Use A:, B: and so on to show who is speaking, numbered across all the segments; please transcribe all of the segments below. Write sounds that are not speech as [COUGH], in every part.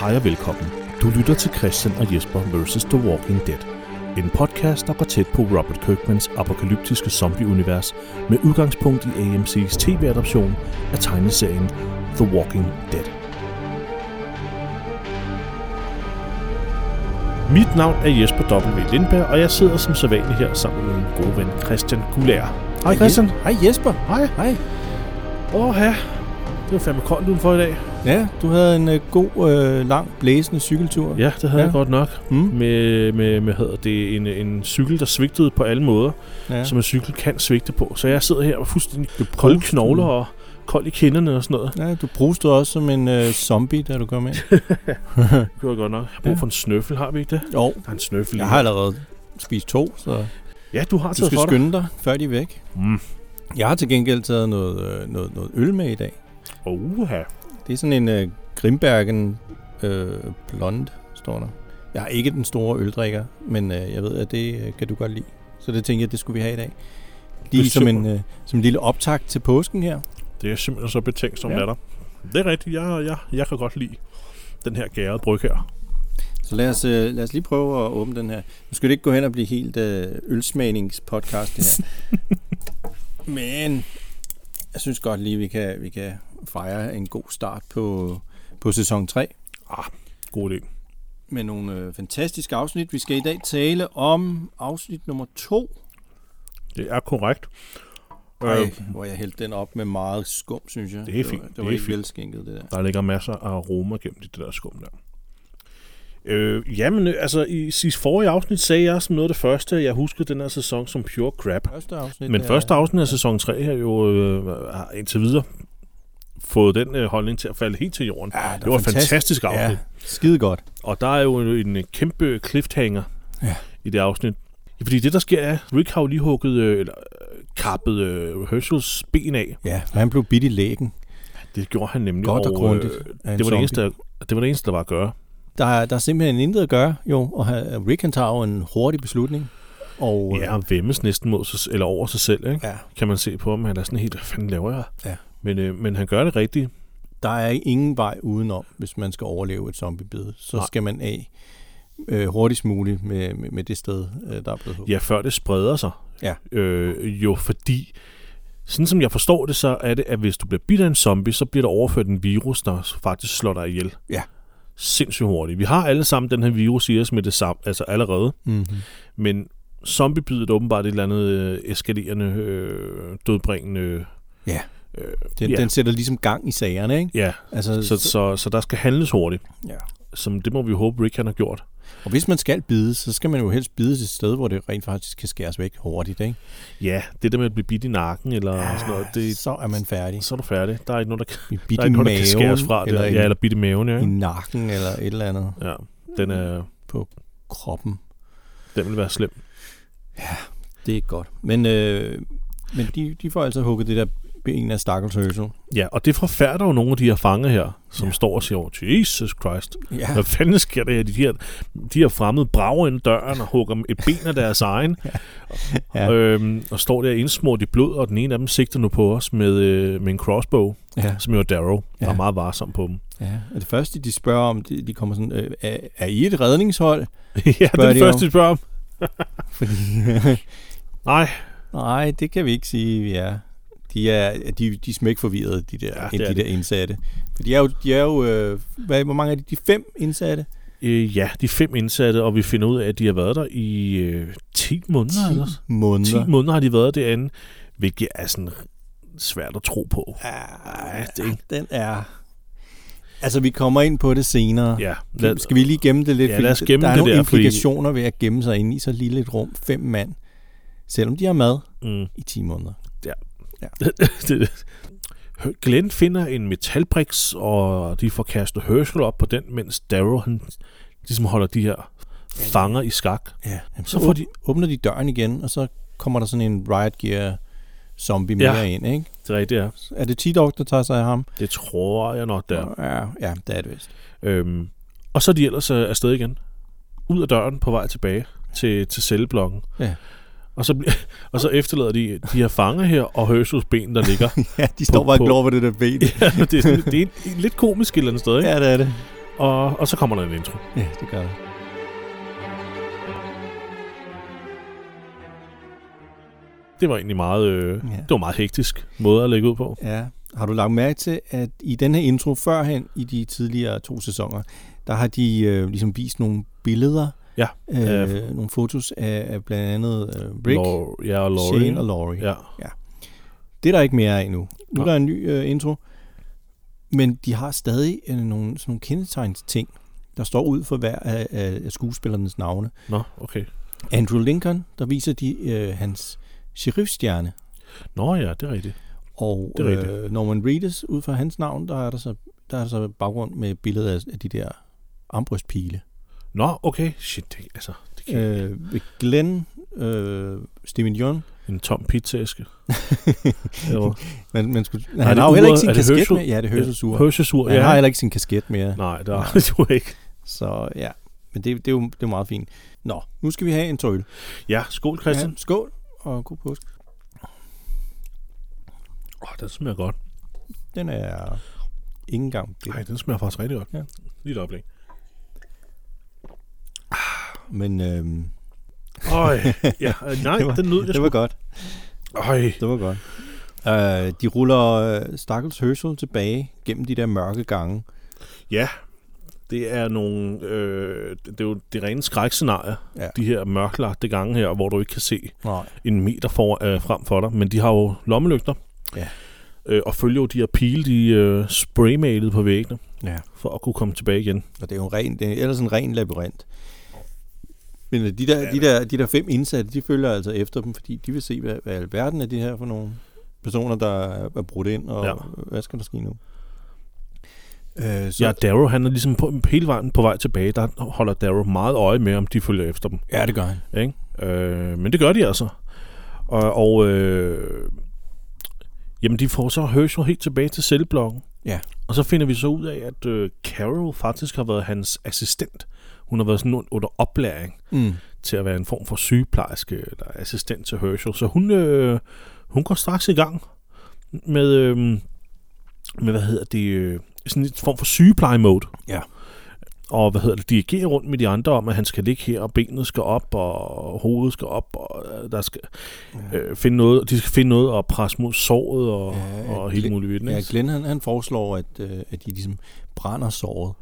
A: Hej og velkommen. Du lytter til Christian og Jesper vs. The Walking Dead. En podcast, der går tæt på Robert Kirkmans apokalyptiske zombieunivers med udgangspunkt i AMC's tv-adoption af tegneserien The Walking Dead. Mit navn er Jesper W. Lindberg, og jeg sidder som sædvanlig her sammen med min gode ven Christian Gulær. Hej Christian.
B: Hej Jesper.
A: Hej.
B: Hej.
A: Åh ja, det var fandme koldt udenfor i dag.
B: Ja, du havde en øh, god, øh, lang, blæsende cykeltur.
A: Ja, det havde ja.
B: Ja.
A: jeg godt nok.
B: Mm.
A: med, med, med hedder det, en, en cykel, der svigtede på alle måder,
B: ja.
A: ja. som en cykel kan svigte på. Så jeg sidder her og fuldstændig kolde
B: brustede.
A: knogler og kold i kinderne og sådan noget.
B: ja, du brustede også som en øh, zombie, da du kom ind.
A: Det kører godt nok. Jeg har brug
B: Ja.
A: for en snøffel, har vi ikke det?
B: [LAUGHS] jo,
A: Der er en snøffel.
B: jeg
A: i.
B: har allerede spist to, så
A: Ja, du har
B: du
A: taget
B: skal
A: for dig.
B: skynde dig, før de er væk.
A: Mm.
B: Jeg har til gengæld taget noget, øh, noget, noget øl med i dag.
A: Oha.
B: Det er sådan en øh, Grimbergen øh, Blond, står der. Jeg er ikke den store øldrikker, men øh, jeg ved, at det øh, kan du godt lide. Så det tænkte jeg, det skulle vi have i dag.
A: Det er
B: Lige som en,
A: super.
B: øh, som en lille optakt til påsken her.
A: Det er simpelthen så betænkt som
B: Ja.
A: ja. der. Det er rigtigt. Jeg, jeg, jeg kan godt lide den her gærede bryg her.
B: Så lad os, øh, lad os lige prøve at åbne den her. Nu skal det ikke gå hen og blive helt øh, ølsmagningspodcast det her.
A: [LAUGHS]
B: Men jeg synes godt lige, vi kan, vi kan fejre en god start på, på sæson 3
A: God idé.
B: med nogle øh, fantastiske afsnit. Vi skal i dag tale om afsnit nummer 2.
A: Det er korrekt.
B: Ej,
A: Øh,
B: hvor jeg hældte den op med meget skum, synes jeg.
A: Det er
B: Det
A: fint,
B: var, det
A: det
B: var
A: er
B: ikke
A: fint.
B: velskænket, det der.
A: Der ligger masser af aroma gennem det der skum der. Øh, jamen, øh, altså i sidste forrige afsnit sagde jeg som noget af det første, at jeg huskede den her sæson som pure crap.
B: Første afsnit.
A: Men
B: er-
A: første afsnit af sæson 3 har jo øh, har indtil videre fået den øh, holdning til at falde helt til jorden.
B: Ja, der er
A: Det var et
B: fantastisk-
A: fantastisk afsnit.
B: Ja, skide godt.
A: Og der er jo en, en kæmpe cliffhanger
B: Ja.
A: i det afsnit. Ja, fordi det, der sker, er, at Rick har jo lige hugget, øh, eller øh, kappet øh, Herschels ben af.
B: Ja, for han blev bidt i lægen.
A: Det gjorde han nemlig.
B: Godt og grundigt
A: Øh,
B: af en
A: det, var det,
B: zombie.
A: eneste, der- det var det eneste, der var at gøre.
B: Der, er- der er simpelthen intet at gøre, jo, og ha- Rick han tager jo en hurtig beslutning. Og,
A: Ja, og væmmes næsten mod sig, eller over sig selv, ikke?
B: ja,
A: kan man se på ham. Han er sådan helt, hvad fanden laver jeg?
B: Ja.
A: Men, øh, men han gør det rigtigt.
B: der er ingen vej udenom, hvis man skal overleve et zombiebid. Så
A: Nej.
B: Nej. skal man af øh, hurtigst muligt med, med, med det sted, øh, der er blevet hugget.
A: Ja, før det spreder sig.
B: Ja.
A: Øh, jo, fordi, sådan som jeg forstår det, så er det, at hvis du bliver bidt af en zombie, så bliver der overført en virus, der faktisk slår dig ihjel.
B: Ja.
A: Sindssygt hurtigt. Vi har alle sammen den her virus i os med det samme, altså allerede.
B: Mm-hmm.
A: Men zombiebidet er åbenbart et eller andet øh, eskalerende, øh, dødbringende...
B: Ja.
A: Øh,
B: Den,
A: ja.
B: den sætter ligesom gang i sagerne, ikke?
A: ja.
B: Altså,
A: Så, så, så der skal handles hurtigt.
B: ja.
A: Som det må vi håbe, Rick han har gjort.
B: Og hvis man skal bide, så skal man jo helst bide et sted, hvor det rent faktisk kan skæres væk hurtigt, ikke? Ah,
A: Ja, det der med at blive bidt i nakken eller ja, Ah, sådan noget, det,
B: Så er man færdig.
A: så er du færdig. Der er ikke noget, der kan,
B: I
A: der
B: bidt
A: er
B: i
A: ikke noget, der kan skæres
B: maven,
A: fra.
B: eller,
A: Eller, ja, eller bidt i maven, ja.
B: i, Mm. i
A: ikke?
B: nakken, eller et eller andet
A: ja den, er,
B: på kroppen.
A: den vil være slem.
B: Det er godt. Men, øh, men de, de får altså hugget det der ben af stakkels Herschel.
A: Ja, og det forfærder jo nogle af de her fanger her, som ja.
B: Ja.
A: står og siger, over, Jesus Christ,
B: Ja,
A: hvad fanden sker der her? De her, de her fremmede brager ind ad døren og hugger et ben af
B: [LAUGHS]
A: deres egen,
B: Ja.
A: øhm, og står der indsmurt i blod, og den ene af dem sigter nu på os med, øh, med en crossbow,
B: ja,
A: som jo er Darrow, der
B: Ja.
A: er meget varsom på dem. [LAUGHS]
B: ja. Og det første, de spørger om, de, de kommer sådan, øh, er, er I et redningshold?
A: ja, det er
B: de
A: det
B: jo.
A: første, de spørger om.
B: Fordi,
A: Nej,
B: [LAUGHS] nej, det kan vi ikke sige, vi er. De er, de, de er smæk forvirrede, de der,
A: Ja,
B: ja,
A: det er de.
B: de der indsatte. For de er jo, de er jo øh, hvad, hvor mange er de? De er fem indsatte?
A: Øh, ja, de fem indsatte, og vi finder ud af, at de har været der i øh, 10 måneder. eller sådan.
B: måneder.
A: 10 måneder har de været derinde, hvilket er sådan svært at tro på.
B: Ja,
A: det-
B: Ah, den er... Altså, vi kommer ind på det senere.
A: Ja,
B: Lad, skal vi lige gemme det lidt?
A: Ja,
B: Fordi
A: lad os gemme
B: der er
A: det
B: nogle
A: der, fordi-
B: implikationer ved at gemme sig inde i så lille et rum, fem mand, selvom de har mad
A: Mm,
B: i 10 måneder.
A: det, Glenn finder en metalbriks, og de får kastet Herschel op på den, mens Darrow han, ligesom holder de her fanger i skak.
B: Ja. Jamen, så
A: Så får de-
B: åb- åbner de døren igen, og så kommer der sådan en Riot Gear zombie
A: Ja.
B: mere ind, ikke?
A: Det er rigtigt, ja.
B: Er det T-Dog, der tager sig af ham?
A: Det tror jeg nok, der.
B: Ja, ja det er det vist.
A: Øhm, og så er de ellers øh, afsted igen. Ud af døren på vej tilbage til, til celleblokken.
B: Ja.
A: Og så, bl- [LAUGHS] og så efterlader de de her fanger her og Herschels ben, der
B: [LAUGHS]
A: ligger.
B: Ja, de står
A: På-
B: bare og
A: på-
B: glor på det der ben.
A: det, er, sådan- det er en, en lidt komisk et eller andet sted, ikke?
B: Ja, det er det.
A: Og, og så kommer der en intro.
B: Ja, det gør det.
A: Det var egentlig meget, øh,
B: Ja.
A: det var en meget hektisk måde at lægge ud på.
B: Ja. Har du lagt mærke til, at i den her intro førhen, i de tidligere to sæsoner, der har de øh, ligesom vist nogle billeder,
A: Ja.
B: øh,
A: Ja.
B: nogle fotos af, af blandt andet øh, Rick,
A: Lor- ja, og Laurie.
B: Shane og Laurie.
A: Ja.
B: Det er der ikke mere af nu. Nu
A: Nej.
B: er der en ny øh, intro, men de har stadig øh, nogle, sådan nogle kendetegnsting, der står ud for hver af, af af skuespillernes navne.
A: Nå, okay.
B: Andrew Lincoln, der viser de øh, hans sheriffstjerne,
A: Nå ja, det er rigtigt.
B: og
A: Det er rigtigt.
B: øh, Norman Reedus, ud fra hans navn, der er der så, der er der så baggrund med billeder af, af de der armbrystpile.
A: Nå, okay. Shit, det, altså, det kan øh.
B: Øh, ved Glenn, øh, Steven Young,
A: En tom
B: [LAUGHS]
A: pizzaæske. Eller-
B: man, man skulle,
A: er
B: han
A: det
B: har jo heller ikke
A: uret?
B: sin
A: Er det
B: kasket
A: Herschel?
B: med. Ja, det høres så sur.
A: Hørsesur,
B: Han
A: ja.
B: har heller ikke sin kasket mere.
A: Nej, der er [LAUGHS] det jo ikke.
B: Så ja, men det, det, er jo det er meget fint. Nå, nu skal vi have en tøjl.
A: Ja, skål, Christian.
B: Ja, skål og god påske.
A: Åh, oh, den smager godt.
B: Den er ikke engang det.
A: Nej, den smager faktisk rigtig godt.
B: Ja.
A: Lige et øjeblik.
B: Men øhm,
A: [LAUGHS] Øj, ja, øh, nej,
B: Det var-
A: den lød jeg
B: det var godt.
A: sgu- Øj,
B: Det var godt. Øh, de ruller øh, Stakkels Herschel tilbage gennem de der mørke gange.
A: det er nogle, øh, det det er jo det rene skrækscenarier,
B: Ja.
A: de her mørklagte gange her, hvor du ikke kan se
B: Nej.
A: en meter for, øh, frem for dig, men de har jo lommelygter,
B: Ja.
A: øh, og følger jo de her pile, de øh, spraymalede på væggene,
B: Ja.
A: for at kunne komme tilbage igen.
B: Og det er jo en ren, det er ellers en ren labyrint. Men øh, de der,
A: Ja.
B: de, der, de der fem indsatte, de følger altså efter dem, fordi de vil se, hvad, hvad i alverden er det her for nogle personer, der er- er brudt ind, og
A: Ja.
B: ja. hvad skal der ske nu? Øh,
A: Så. Ja, Darrow, han er ligesom på, hele vejen på vej tilbage, der holder Darrow meget øje med, om de følger efter dem.
B: ja, det gør han.
A: Øh, men det gør de altså. Og, og øh, jamen, de får så Herschel helt tilbage til selvblokken.
B: Ja.
A: Og så finder vi så ud af, at øh, Carol faktisk har været hans assistent. Hun har været sådan un- under oplæring
B: Mm.
A: til at være en form for sygeplejerske eller assistent til Herschel. Så hun, øh, hun går straks i gang med, øh, med hvad hedder det, øh, sådan en form for sygepleje-mode.
B: Ja.
A: Og hvad hedder det, dirigerer rundt med de andre om, at han skal ligge her, og benet skal op, og hovedet skal op, og øh, der skal
B: Ja.
A: øh, finde noget, de skal finde noget at presse mod såret og,
B: Ja,
A: ja, og
B: Glenn-
A: helt muligt ved den,
B: Ja,
A: ikke?
B: Glenn han, han foreslår, at, øh, at de ligesom brænder såret.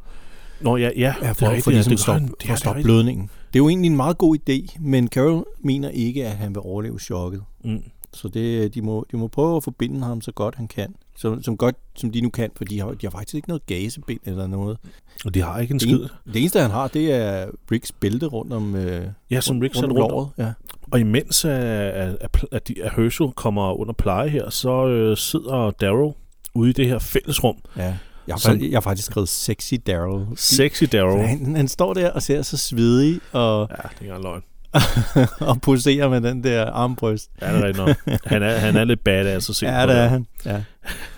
A: Nå ja, ja,
B: Ja,
A: det
B: for,
A: er
B: det
A: rigtigt,
B: for
A: ja,
B: ligesom
A: det gør
B: at stoppe,
A: han.
B: for
A: er
B: at stoppe
A: rigtigt.
B: blødningen. Det er jo egentlig en meget god idé, men Carol mener ikke, at han vil overleve chokket.
A: Mm.
B: Så det, øh, de, må, de må prøve at forbinde ham så godt han kan. Som, som godt som de nu kan, for de har, de har faktisk ikke noget gasebind eller noget.
A: Og de har ikke en
B: Det en-
A: skid.
B: Det eneste, han har, det er Bricks bælte rundt om, øh,
A: Ja, som Rick
B: rundt
A: satte
B: om
A: rundt
B: låret. Ja.
A: Og imens øh, at, at, at- at, de- at Herschel kommer under pleje her, så øh, sidder Darrow ude i det her fællesrum.
B: Ja. Jeg, har,
A: Som-
B: fa- jeg har faktisk skrevet Sexy Daryl.
A: Sexy Darrow. Ja,
B: Han, han står der og ser så svedig og, [LAUGHS]
A: det er ikke engang løgn.
B: og poserer med den der armbryst.
A: Ja, det er rigtigt nok. Han er, han er lidt badass at se
B: Ja,
A: på.
B: det er han. Ja.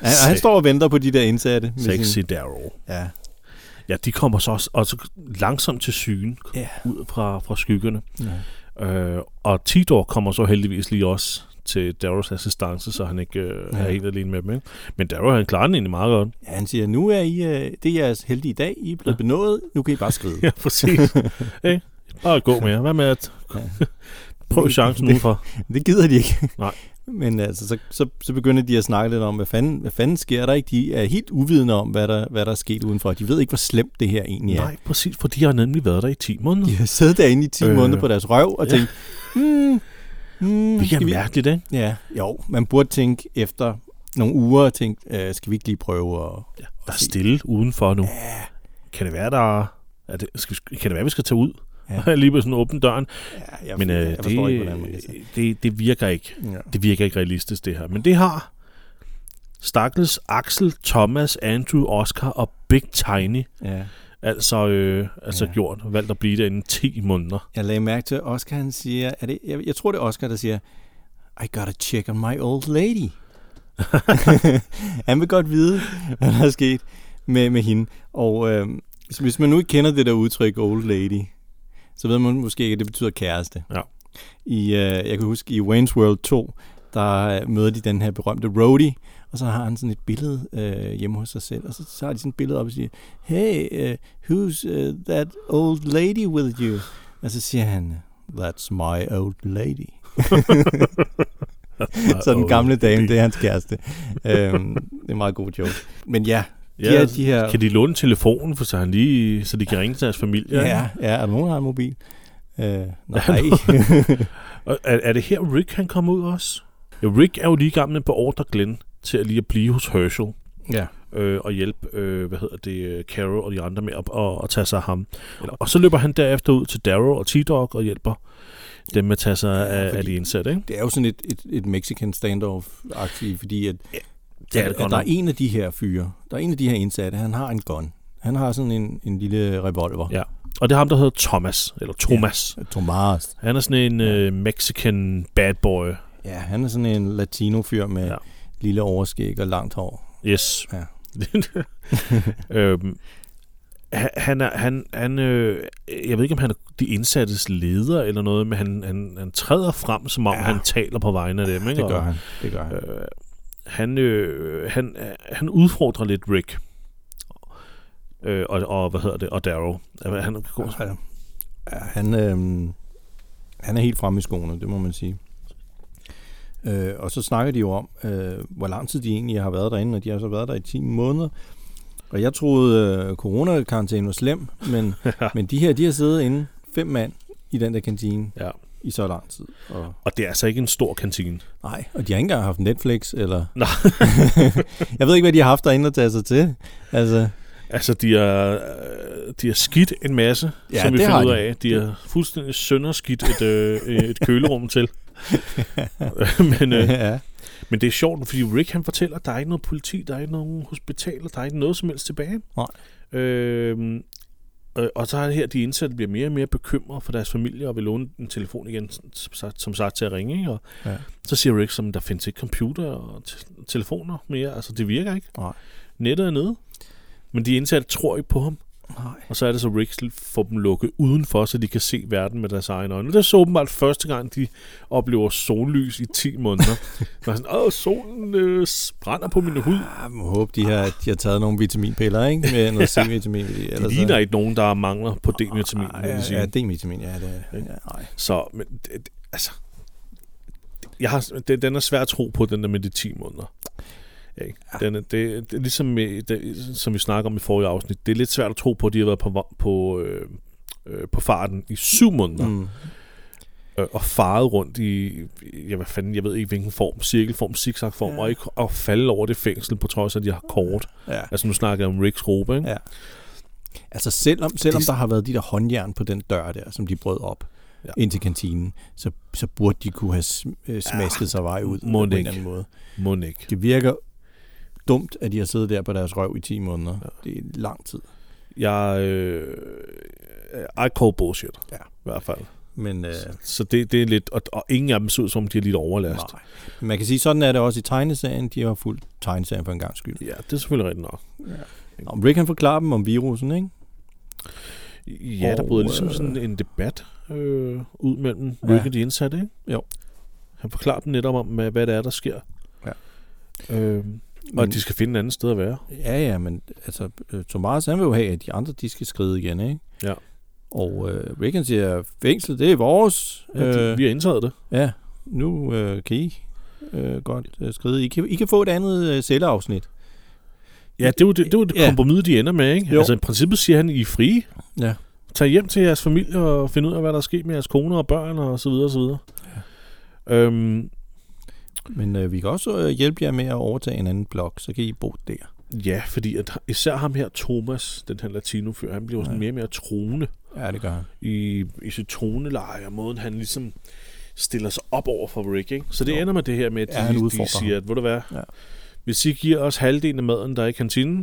B: Han, han står og venter på de der indsatte. med
A: Sexy
B: sin-
A: Darrow.
B: Ja.
A: Ja, de kommer så også og så langsomt til syne
B: Ja.
A: ud fra, fra skyggerne.
B: ja.
A: Øh, og Tidor kommer så heldigvis lige også til Darrows assistance, så han ikke øh, ja.
B: Ja.
A: er helt alene med dem. Ikke? Men Darrow, han klarer den egentlig meget godt.
B: Ja, han siger, nu er I, øh, det er jeres heldige dag, I er blevet
A: Ja.
B: benået, nu kan I bare skride.
A: [LAUGHS] Ja, præcis. Ikke? Bare gå med jer. Hvad med at...
B: Ja.
A: Prøv chancen udenfor.
B: Det gider de ikke.
A: Nej.
B: [LAUGHS] Men altså, så, så, så begynder de at snakke lidt om, hvad fanden, hvad fanden sker der ikke? De er helt uvidende om, hvad der, hvad der er sket udenfor. De ved ikke, hvor slemt det her egentlig
A: Ja.
B: er.
A: Nej, præcis, for de har nemlig været der i 10 måneder.
B: De har siddet derinde i 10
A: Øh.
B: øh. måneder på deres røv og
A: Ja.
B: tænkt, hmm, hmm,
A: Det er
B: skal vi...
A: mærkeligt, ikke?
B: Ja, jo, man burde tænke efter nogle uger, tænke, øh, skal vi ikke lige prøve at...
A: Ja, der er stille udenfor nu.
B: Ja,
A: Kan det være, der er, er det, skal, vi- kan det være, vi skal tage ud? Ja. [LAUGHS]
B: Ja.
A: lige på sådan åbne døren.
B: ja jeg,
A: Men øh,
B: jeg forstår
A: det,
B: ikke, hvordan man kan sige.
A: det, det, virker ikke.
B: Ja.
A: Det virker ikke realistisk, det her. Men det har Stakkels, Axel, Thomas, Andrew, Oscar og Big Tiny
B: Ja.
A: altså, øh, altså ja.
B: Ja.
A: gjort. Valgt at blive derinde 10 måneder.
B: Jeg lagde mærke til, at Oscar han siger, er det, jeg, jeg tror det er Oscar, der siger, I gotta check on my old lady. [LAUGHS] han vil godt vide, hvad der er sket med, med hende. Og øh, så hvis man nu ikke kender det der udtryk old lady, så ved man måske ikke, at det betyder kæreste.
A: Ja.
B: I, øh, jeg kan huske, i Wayne's World 2, der øh, møder de den her berømte roadie, og så har han sådan et billede øh, hjemme hos sig selv, og så, så har de sådan et billede op og siger, hey, uh, who's uh, that old lady with you? Og så siger han, that's my old lady. så den gamle dame, det er hans kæreste. øhm, det er en meget god joke. Men ja, de,
A: Ja,
B: er, de her...
A: kan de låne telefonen, for så, han lige, så de kan ringe til deres familie?
B: Ja, ja, er der nogen, der har en mobil? [LAUGHS] Øh, nej.
A: Og er, er det her, Rick han kommer ud også? Ja, Rick er jo lige gammel på ordre Glenn til at lige at blive hos Herschel.
B: ja.
A: øh, og hjælpe, øh, hvad hedder det, øh, Caro og de andre med at, at, at tage sig af ham. Eller, og så løber han derefter ud til Darrow og T-Dog og hjælper dem med at tage sig af,
B: fordi-
A: af de indsatte, ikke?
B: Det er jo sådan et, et, et Mexican standoff-agtigt, fordi at, ja,
A: det er det
B: at,
A: godt
B: at der er
A: nok.
B: en af de her fyre, der er en af de her indsatte, han har en gun. Han har sådan en, en lille revolver.
A: Ja. Og det er ham, der hedder Thomas, eller Thomas.
B: Thomas.
A: Han er sådan en øh, Mexican bad boy.
B: Ja, han er sådan en latino-fyr med
A: Ja.
B: ja. lille overskæg og langt hår.
A: Yes.
B: Ja.
A: [LAUGHS] øhm, han- han er, han, han øh, jeg ved ikke, om han er de indsattes leder eller noget, men han, han, han træder frem, som om ja.
B: Ja.
A: han taler på vegne af dem. Ikke?
B: Det
A: Og-
B: gør han. Det gør han.
A: Øh, han, øh, han, øh, han udfordrer lidt Rick. Øh, og, og, hvad hedder det? Og Darrow. Altså, Han,
B: Ja, han, øh, han er helt fremme i skoene, det må man sige. Øh, og så snakker de jo om, øh, hvor lang tid de egentlig har været derinde, og de har så været der i 10 måneder. Og jeg troede, øh, coronakarantæne var slem, men,
A: [LAUGHS]
B: men de her, de har siddet inde, fem mand, i den der kantine
A: ja.
B: i så lang tid. Og,
A: Og det er altså ikke en stor kantine.
B: nej, og de har ikke engang haft Netflix, eller...
A: Nej.
B: [LAUGHS] jeg ved ikke, hvad de har haft derinde at tage sig til. Altså,
A: Altså, de er, øh, de er skidt en masse,
B: Ja,
A: som vi
B: det
A: finder
B: har
A: ud
B: de.
A: af. De er fuldstændig sønderskidt et, øh, et kølerum
B: [LAUGHS]
A: til. [LAUGHS] men, øh,
B: ja.
A: men det er sjovt, fordi Rick han fortæller, at der er ikke noget politi, der er ikke nogen hospitaler, der er ikke noget som helst tilbage.
B: Nej.
A: Øhm, øh, og så er det her, at de indsatte bliver mere og mere bekymrede for deres familie og vil låne en telefon igen, som sagt- som sagt til at ringe. ikke? Og
B: Ja.
A: Så siger Rick, som der findes ikke computer og t- telefoner mere, altså det virker ikke.
B: Nej.
A: Nettet er nede, men de indsatte tror ikke på ham.
B: Nej.
A: Og så er det så, Rick får dem lukket udenfor, så de kan se verden med deres egne øjne. Det er så åbenbart første gang, de oplever sollys i 10 måneder.
B: [LAUGHS]
A: Man er sådan, åh, solen øh, brænder på min hud.
B: Jeg Ah, må håbe, de har, de har taget nogle vitaminpiller, ikke? Med noget
A: [LAUGHS]
B: C-vitamin. fordi
A: De
B: ellers så-
A: ligner ikke nogen, der mangler på D-vitamin,
B: Ah,
A: vil jeg
B: Ja,
A: sige.
B: D-vitamin, ja. Det, ja, nej.
A: Så, men, det, det- altså, jeg har, det, den er svær at tro på, den der med de 10 måneder. Ikke? Den er, det, det er ligesom, med, det, som vi snakker om i forrige afsnit, det er lidt svært at tro på, at de har været på, va- på, øh, øh, på farten i 7 måneder.
B: Mm.
A: øh, og faret rundt i, ja, hvad fanden, jeg ved ikke hvilken form, cirkelform, zigzagform, ja.
B: Ja.
A: og ikke at falde over det fængsel, på trods af, at de har kort.
B: ja.
A: Altså nu snakker jeg om Ricks gruppe, ikke?
B: Ja. Altså selvom, selvom
A: Det-
B: der har været de der håndjern på den dør der, som de brød op
A: Ja.
B: ja. ind til kantinen, så, så burde de kunne have sm- øh, smasket ja, sig vej ud
A: Ah, må
B: på
A: det
B: en
A: ikke.
B: eller anden måde.
A: Må ikke.
B: Det virker dumt, at de har siddet der på deres røv i 10 måneder. Ja. Det er lang tid.
A: Jeg, øh, I call bullshit,
B: Ja.
A: i hvert fald.
B: Men, øh,
A: Så det, det er lidt, og, og ingen af dem ser ud, som om de er lidt overlast.
B: nej. Men man kan sige, sådan er det også i tegneserien. De har fulgt tegneserien for en gang skyld.
A: Ja, det er selvfølgelig rigtigt nok.
B: Nå, Rick han forklarer dem om virusen, ikke?
A: Ja, der
B: Og,
A: bryder ligesom
B: øh,
A: sådan en debat øh, ud mellem Rick
B: Ja.
A: og de indsatte, ikke?
B: Jo.
A: Han forklarer dem netop om, hvad hvad det er, der sker.
B: Ja. Mm.
A: Øh, og at de skal finde et andet sted at være.
B: Ja, ja, men altså, øh, Thomas, han vil jo have, at de andre, de skal skride igen, ikke?
A: Ja.
B: Og øh, Reagan siger, fængsel, det er vores.
A: Ja, de,
B: Øh,
A: vi har indtaget det.
B: ja, nu øh, kan I øh, godt øh, skride. I kan, I kan få et andet øh, celleafsnit.
A: Ja, det er jo det, det, er jo det
B: Ja.
A: kompromis, de ender med, ikke? Jo.
B: Jo.
A: Altså i princippet siger han, I er frie.
B: Ja.
A: Tag hjem til jeres familie og find ud af, hvad der er sket med jeres koner og børn og så videre og så videre. Ja. Øhm,
B: Men øh, vi kan også øh, hjælpe jer med at overtage en anden blok, så kan I bo der.
A: ja, fordi at især ham her, Thomas, den her latinofyr, han bliver jo sådan
B: Ja.
A: mere og mere troende
B: Ja, det gør han.
A: i, i sit toneleje og måden, han ligesom stiller sig op over for Rick, ikke? Så det
B: Jo.
A: ender med det her med, at
B: Ja,
A: de,
B: han
A: ja, de
B: udfordrer
A: siger, at, ved du hvad, ja.
B: Ja.
A: hvis I giver os halvdelen af maden, der er i kantinen,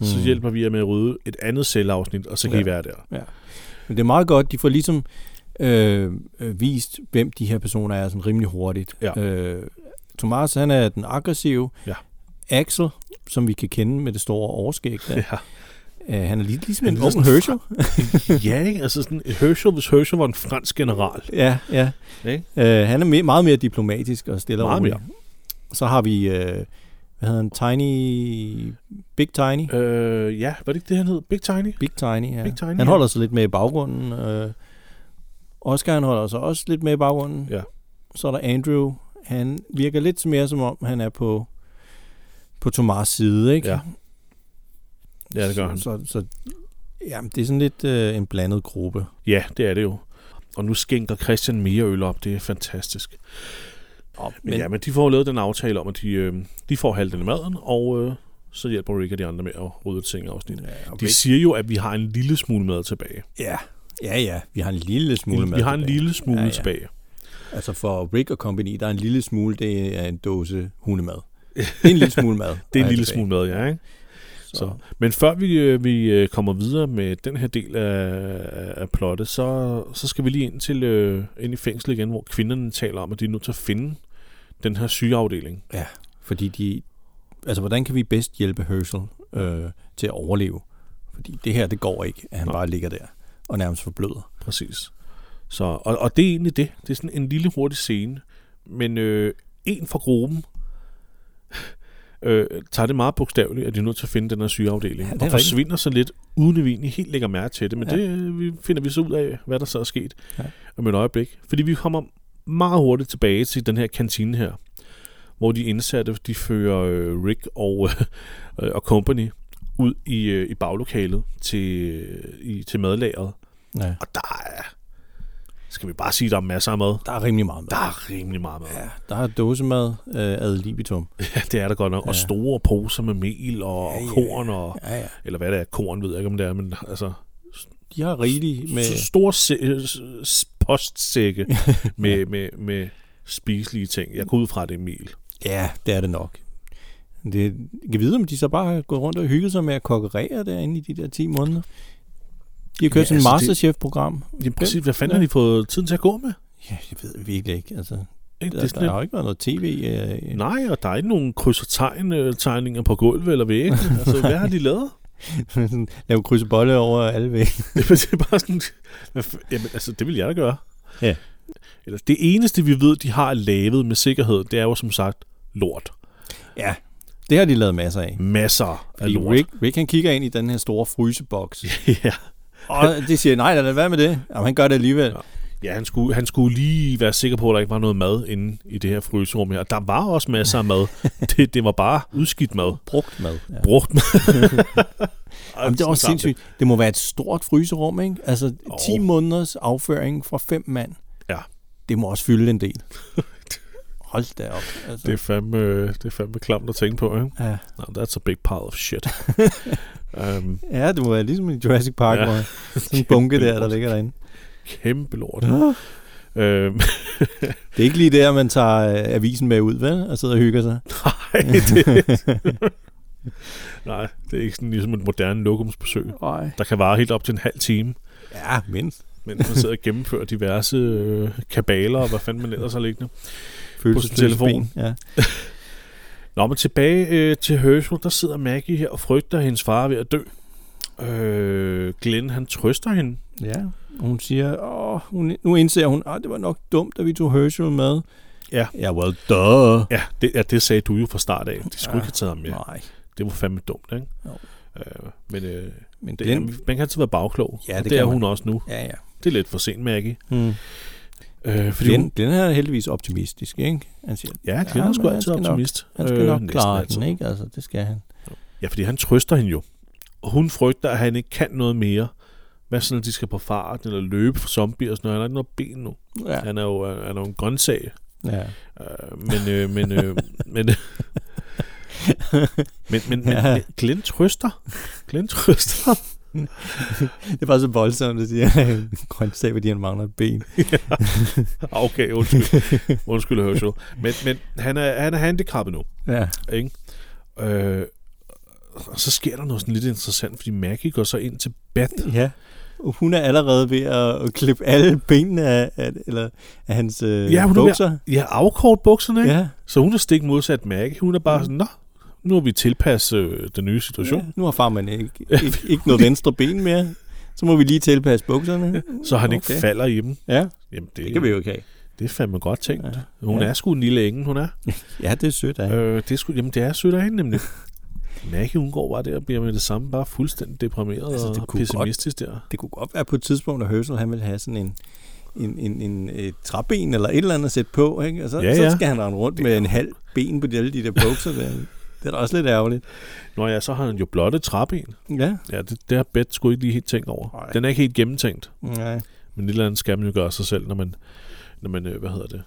A: mm. så
B: Mm.
A: hjælper vi jer med at rydde et andet celleafsnit, og så kan ja.
B: Ja.
A: I være der.
B: Men det er meget godt, de får ligesom øh, øh, vist, hvem de her personer er sådan rimelig hurtigt.
A: Ja.
B: Øh, Thomas, han er den aggressive.
A: Ja. [LAUGHS]
B: Axel, som vi kan kende med det store overskæg, der,
A: Ja.
B: Øh, han er lige, ligesom
A: Han
B: en
A: er
B: ung
A: sådan-
B: Herschel.
A: ja, ikke? Altså sådan, Herschel, hvis Herschel var en fransk general.
B: Ja, ja.
A: Ikke?
B: Øh, han er mere, meget mere diplomatisk og stille
A: Meget
B: og rolig. Så har vi, øh, hvad hedder han, Tiny, Big Tiny?
A: Øh, ja, var det ikke det, han hed? Big Tiny?
B: Big Tiny, ja.
A: Big Tiny,
B: han
A: ja.
B: holder sig lidt med i baggrunden. Øh, Oscar, han holder sig også lidt med i baggrunden.
A: Ja.
B: Så er der Andrew. Han virker lidt mere som om, han er på, på Tomars side, ikke?
A: Ja, Ja, det gør han.
B: Så, så, så jamen, det er sådan lidt øh, en blandet gruppe.
A: Ja, det er det jo. Og nu skænker Christian mere øl op. Det er fantastisk.
B: Oh,
A: Men, men ja, men de får jo lavet den aftale om, at de, øh, de får halvdelen af maden, og øh, så hjælper Rick og de andre med at rydde et sengeafsnit.
B: ja, okay.
A: De siger jo, at vi har en lille smule mad tilbage.
B: ja, ja, ja, vi har en lille smule
A: Vi
B: mad
A: har en
B: tilbage.
A: lille smule
B: Ja,
A: ja,
B: ja.
A: ja. tilbage.
B: Altså for Rick og Company, der er en lille smule, det er en dåse
A: [LAUGHS]
B: hundemad. Det er en lille smule mad.
A: Det er en
B: der
A: lille
B: tilbage.
A: smule mad, ja, ikke?
B: Så,
A: Så. Men før vi, øh, vi øh, kommer videre med den her del af, af plottet, så, så skal vi lige ind, til, øh, ind i fængsel igen, hvor kvinderne taler om, at de er nødt til at finde den her sygeafdeling.
B: Fordi de... Altså, hvordan kan vi bedst hjælpe Herschel øh, til at overleve? Fordi det her, det går ikke, at han
A: Nej.
B: bare ligger der og nærmest forbløder.
A: Præcis. Så, og, og det er egentlig det. Det er sådan en lille hurtig scene. Men øh, en fra gruppen [LAUGHS] øh, tager det meget bogstaveligt, at de er nødt til at finde den her sygeafdeling.
B: Ja,
A: Ja,
B: det er
A: og
B: rigtigt.
A: forsvinder så lidt, uden at vi egentlig helt lægger mærke til det. Men
B: Ja.
A: ja. det øh, vi finder vi så ud af, hvad der så er sket
B: Ja.
A: ja. om et øjeblik. Fordi vi kommer meget hurtigt tilbage til den her kantine her, hvor de indsatte, de fører øh, Rick og, [LAUGHS] øh, og Company ud i, øh, i baglokalet til, øh, i, til madlageret.
B: Ja.
A: Og der er, skal vi bare sige, der er masser af mad.
B: Der er rimelig meget mad.
A: Der er rimelig meget mad.
B: Ja, der er dåsemad øh, ad libitum.
A: Ja, det er der godt nok. Og
B: Ja.
A: store poser med mel og
B: Ja, ja.
A: ja, korn, og,
B: Ja, ja.
A: eller hvad det er, korn ved jeg ikke, om det er, men altså
B: De har rigeligt med...
A: så store se- s- [LAUGHS] postsække med, med, med spiselige ting. Jeg går ud fra, at det er mel.
B: Ja, det er det nok. Det, jeg kan vide, om de så bare har gået rundt og hygget sig med at kokkerere derinde i de der 10 måneder. De har kørt
A: Ja,
B: ja, sådan et
A: altså, det-
B: Masterchef-program.
A: Jamen, præcis, hvad fanden har de fået tiden til at gå med?
B: Ja, det ved jeg virkelig ikke. Altså,
A: Ikke?
B: der,
A: Det er
B: der, der
A: sådan,
B: har jo ikke været noget tv. Øh,
A: lidt- nej, og der er ikke nogen kryds og tegn, øh, tegninger på gulvet eller vægge. Altså, hvad har de lavet?
B: sådan, [LAUGHS] lave kryds og bolle over alle vægge.
A: [LAUGHS] det er bare sådan... Hvad f- Jamen, altså, det vil jeg da gøre.
B: Ja.
A: Eller, det eneste, vi ved, de har lavet med sikkerhed, det er jo som sagt lort.
B: Ja, det har de lavet masser af.
A: Masser af
B: Fordi
A: lort.
B: Rick, Rick, han kigger ind i den her store fryseboks.
A: [LAUGHS] ja.
B: og de siger, nej, lad det være med det. Jamen, han gør det alligevel.
A: ja, han skulle, han skulle lige være sikker på, at der ikke var noget mad inde i det her fryserum her. Der var også masser af mad.
B: [LAUGHS]
A: det, det var bare udskidt mad.
B: Brugt mad. Ja.
A: Brugt mad.
B: [LAUGHS] Jamen, det er også sindssygt. Det må være et stort fryserum, ikke? Altså, 10
A: Jo.
B: måneders afføring fra fem mand.
A: Ja.
B: Det må også fylde en
A: [LAUGHS]
B: del. Hold da op. Altså.
A: Det er fandme, øh, det er fandme klamt at tænke på, ikke?
B: Ja.
A: No, that's a big pile of
B: [LAUGHS]
A: shit. um,
B: ja, det må være ligesom i Jurassic Park, ja.
A: Ja.
B: hvor sådan en
A: [LAUGHS]
B: bunke der, der ligger derinde.
A: kæmpe lort. øhm,
B: Det er ikke lige der, man tager øh, avisen med ud, vel? Og sidder og hygger sig.
A: Nej, det... Nej, det er ikke sådan ligesom et moderne lokumsbesøg,
B: Nej.
A: der kan vare helt op til en halv time,
B: Ja, mindst.
A: mens man sidder og gennemfører diverse øh, kabaler og hvad fanden man ellers har liggende.
B: Følelsesløs
A: telefon.
B: ben, Ja.
A: Nå, men tilbage øh, til Herschel, der sidder Maggie her og frygter at hendes far er ved at dø. Øh, Glenn, han trøster hende.
B: Ja, og hun siger, åh, hun, nu indser hun, at det var nok dumt, at vi tog Herschel med.
A: Ja.
B: Ja, well, duh.
A: Ja, det, ja, det sagde du jo fra start af. De skulle
B: Ja.
A: ikke have taget ham med.
B: Nej,
A: Det var fandme dumt, ikke?
B: Jo.
A: Øh, men øh,
B: men
A: det,
B: den...
A: man kan altid være bagklog.
B: Ja,
A: og
B: det
A: det
B: kan
A: er
B: man.
A: hun også nu.
B: Ja, ja.
A: Det er lidt for sent, Maggie.
B: Hmm.
A: Øh, fordi hun,
B: Den, den her er heldigvis optimistisk, ikke? Han siger,
A: Ja,
B: Ja,
A: Glenn er sgu
B: men han
A: altid
B: skal nok-
A: optimist.
B: han skal øh, nok
A: næsten
B: klare
A: altid.
B: den, ikke? Altså, det skal han.
A: Ja, fordi han trøster hende jo. Og hun frygter, at han ikke kan noget mere. Hvad sådan, at de skal på fart eller løbe for zombier og sådan noget. Han har ikke noget ben nu.
B: Ja.
A: Ja. Han er jo, øh, han er jo en grøntsag.
B: ja.
A: Øh, men, øh, men, øh, men, [LAUGHS] men, men, men,
B: Ja.
A: ja. Glenn trøster. Glenn trøster. ham.
B: Det er bare så voldsomt at sige, at han er en grøntsag, fordi han mangler et ben.
A: Ah, okay, undskyld. Undskyld, Herschel. Men, men han, er, han er handicappet nu.
B: Ja.
A: Ikke? Øh, og så sker der noget sådan lidt interessant, fordi Maggie går så ind til Beth.
B: ja. Og Hun er allerede ved at at klippe alle benene af, af, eller af hans øh,
A: Ja, hun er ved at-
B: bukser.
A: Ja, afkort bukserne, ikke?
B: Ja,
A: Så hun er stik modsat Maggie. Hun er bare sådan, nå, nu må vi tilpasse øh, den nye situation.
B: Ja, nu har farmand ikke, ikke, ikke noget venstre ben mere. Så må vi lige tilpasse bukserne.
A: Så han okay. ikke falder i dem.
B: Ja,
A: Jamen,
B: det kan vi jo ikke have.
A: Det er fandme godt tænkt.
B: Ja.
A: Hun
B: Ja.
A: er sgu en lille engel, hun er.
B: Ja, det er sødt af.
A: Ja.
B: Øh.
A: Øh, det er sgu, jamen, det er sødt af hende nemlig. [LAUGHS] Maggie, hun går bare der og bliver med det samme bare fuldstændig deprimeret
B: Altså, det
A: og
B: kunne godt-
A: pessimistisk godt. der.
B: Det kunne godt være på et tidspunkt, at Herschel han ville have sådan en, en, en, en et træben eller et eller andet at sætte på. Ikke? Og så,
A: Ja,
B: ja, ja.
A: ja.
B: så skal han rende rundt med en halv ben på de- alle de der bukser der. Det er da også lidt ærgerligt.
A: Nå ja, så har han jo blotte træben.
B: Ja.
A: Ja, det, det har Bet sgu ikke lige helt tænkt over.
B: Nej.
A: Den er ikke helt gennemtænkt.
B: Nej.
A: Men et eller andet skal man jo gøre sig selv, når man, når man øh, hvad hedder det,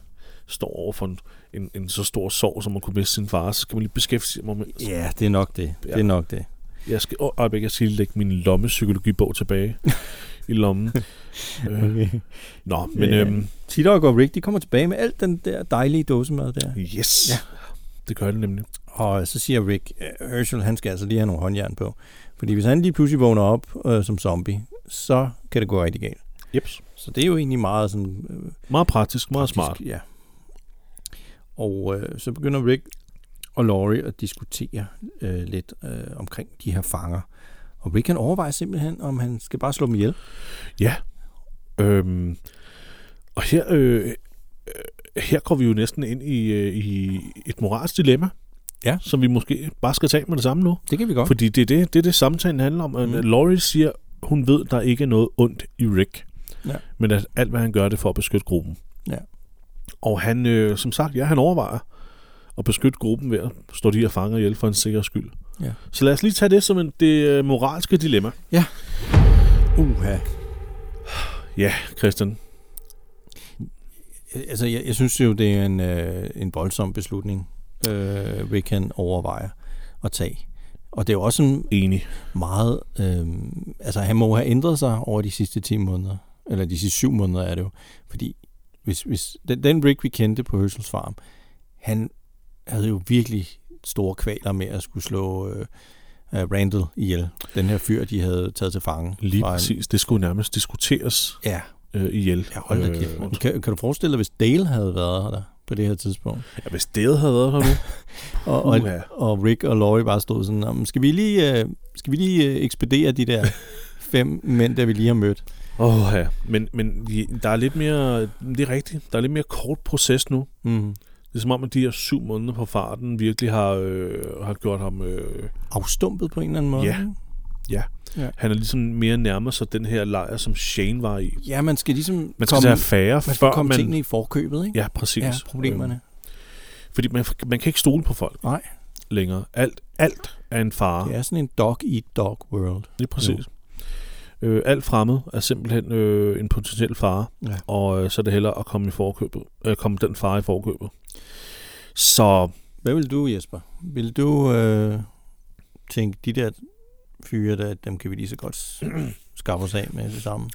A: står over for en, en, en så stor sorg, som man kunne miste sin far, så skal man lige beskæftige sig med...
B: Ja, det er nok det. Det er nok det.
A: Jeg skal, åh, øjeblik, jeg skal lige lægge min lommepsykologibog
B: [LAUGHS]
A: tilbage i lommen. Øh,
B: Okay.
A: nå, men
B: Ja.
A: øhm,
B: Tidok og Rick, de kommer tilbage med alt den der dejlige dåsemad der.
A: yes,
B: Ja.
A: ja. det gør det nemlig.
B: Og så siger Rick, øh, Herschel, han skal altså lige have nogle håndjern på. Fordi hvis han lige pludselig vågner op øh, som zombie, så kan det gå rigtig galt.
A: Jeps.
B: Så det er jo egentlig meget sådan... Øh,
A: Meget praktisk, meget
B: praktisk,
A: smart.
B: Ja. Og øh, så begynder Rick og Laurie at diskutere øh, lidt øh, omkring de her fanger. Og Rick han overvejer simpelthen, om han skal bare slå dem ihjel.
A: Øhm, og her, øh, øh, her går vi jo næsten ind i, øh, i et moralsk dilemma,
B: Ja.
A: som vi måske bare skal tage med det samme nu.
B: Det kan vi godt.
A: Fordi det er det, det, er det samtalen handler om.
B: Mm.
A: Mm. Laurie siger, hun ved, der ikke er noget ondt i Rick.
B: Ja.
A: Men at alt, hvad han gør, det er for at beskytte gruppen.
B: Ja.
A: Og han, øh, som sagt, ja, han overvejer at beskytte gruppen ved at stå de her fanger ihjel for en sikker skyld.
B: Ja.
A: Så lad os lige tage det som en, det øh, moralske dilemma.
B: Uha.
A: Ja, Christian.
B: Altså, jeg, jeg synes jo, det er en, øh, en voldsom beslutning, øh, vi kan overveje at tage. Og det er jo også en
A: Enig.
B: meget... Øh, altså, han må have ændret sig over de sidste 10 måneder. Eller de sidste 7 måneder er det jo. Fordi hvis, hvis den, den Rick, vi kendte på Høsels Farm, han havde jo virkelig store kvaler med at skulle slå øh, øh, Randall ihjel. Den her fyr, de havde taget til fange.
A: Lige
B: fra en-
A: præcis. Det skulle nærmest diskuteres
B: Ja,
A: øh, ihjel.
B: ja hold da kæft.
A: Øh,
B: mand. kan, kan du forestille dig, hvis Dale havde været der på det her tidspunkt?
A: ja, hvis det havde været her
B: [LAUGHS]
A: nu.
B: Og, og,
A: Uha.
B: og Rick og Laurie bare stod sådan, "Nå, men skal vi lige, øh, skal vi lige øh, ekspedere de
A: [LAUGHS]
B: der fem mænd, der vi lige har mødt?
A: Åh ja. Men, men de- der er lidt mere, det er rigtigt, der er lidt mere kort proces nu.
B: Mm.
A: Det er som om, at de her syv måneder på farten virkelig har, øh, har gjort ham... Øh,
B: Afstumpet på en eller anden måde.
A: Ja.
B: ikke?
A: han er ligesom mere nærmere sig den her lejr, som Shane var i.
B: ja man skal ligesom
A: Man skal
B: komme,
A: tage affære,
B: man skal
A: før
B: komme
A: man...
B: tingene i forkøbet, ikke?
A: Ja, præcis.
B: ja problemerne.
A: Øhm, fordi man, man kan ikke stole på folk
B: Nej.
A: længere. Alt, alt er en fare.
B: Det er sådan en dog-eat-dog world.
A: Lige præcis. Øh, alt fremmed er simpelthen øh, en potentiel fare,
B: Ja.
A: og øh, så er det hellere at komme, i forkøbet, øh, komme den fare i forkøbet. Så
B: Hvad vil du, Jesper? Vil du øh, tænke, de der fyre, der, dem kan vi lige så
A: [CLEARS THROAT]
B: godt s- skaffe os af med det samme?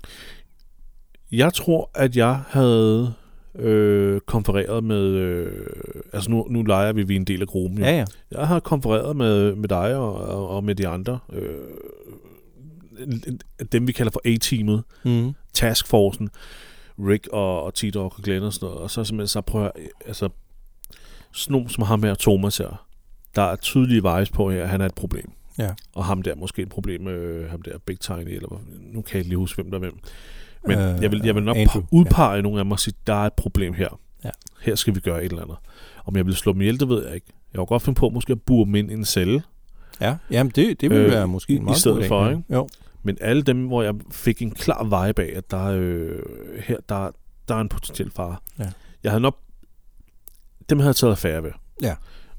A: jeg tror, at jeg havde øh, konfereret med... Øh, altså nu, nu leger vi, vi er en del af gruppen. jo.
B: Ja, ja.
A: Jeg har konfereret med, med dig og, og, og med de andre. Øh, en- en- dem, vi kalder for A-teamet.
B: Mm.
A: taskforcen, Rick og, og T-Dog og Glenn og sådan noget, og så simpelthen så prøver jeg, altså, snom som ham her, Thomas her, der er tydelige vejes på her, at han er et problem.
B: Ja.
A: Og ham der er måske et problem, øh, ham der Big Tiny, eller hvad, nu kan jeg ikke lige huske, hvem der er hvem. Men
B: Øh,
A: øh, jeg, vil, jeg vil nok
B: Andrew,
A: Andrew, udpege ja. nogle af dem og sige, der er et problem her.
B: Ja.
A: Her skal vi gøre et eller andet. Om jeg vil slå dem ihjel, det ved jeg ikke. Jeg kunne godt finde på måske at bure dem ind i en celle,
B: Ja, jamen det, det vil
A: Øh,
B: øh, være måske
A: i-
B: en meget
A: i stedet
B: god idé.
A: for, ikke?
B: Jo.
A: men alle dem, hvor jeg fik en klar vej bag, at der, øh, her, der, der er en potentiel fare.
B: Ja.
A: Jeg havde nok... Dem havde jeg taget affære ved.
B: Ja.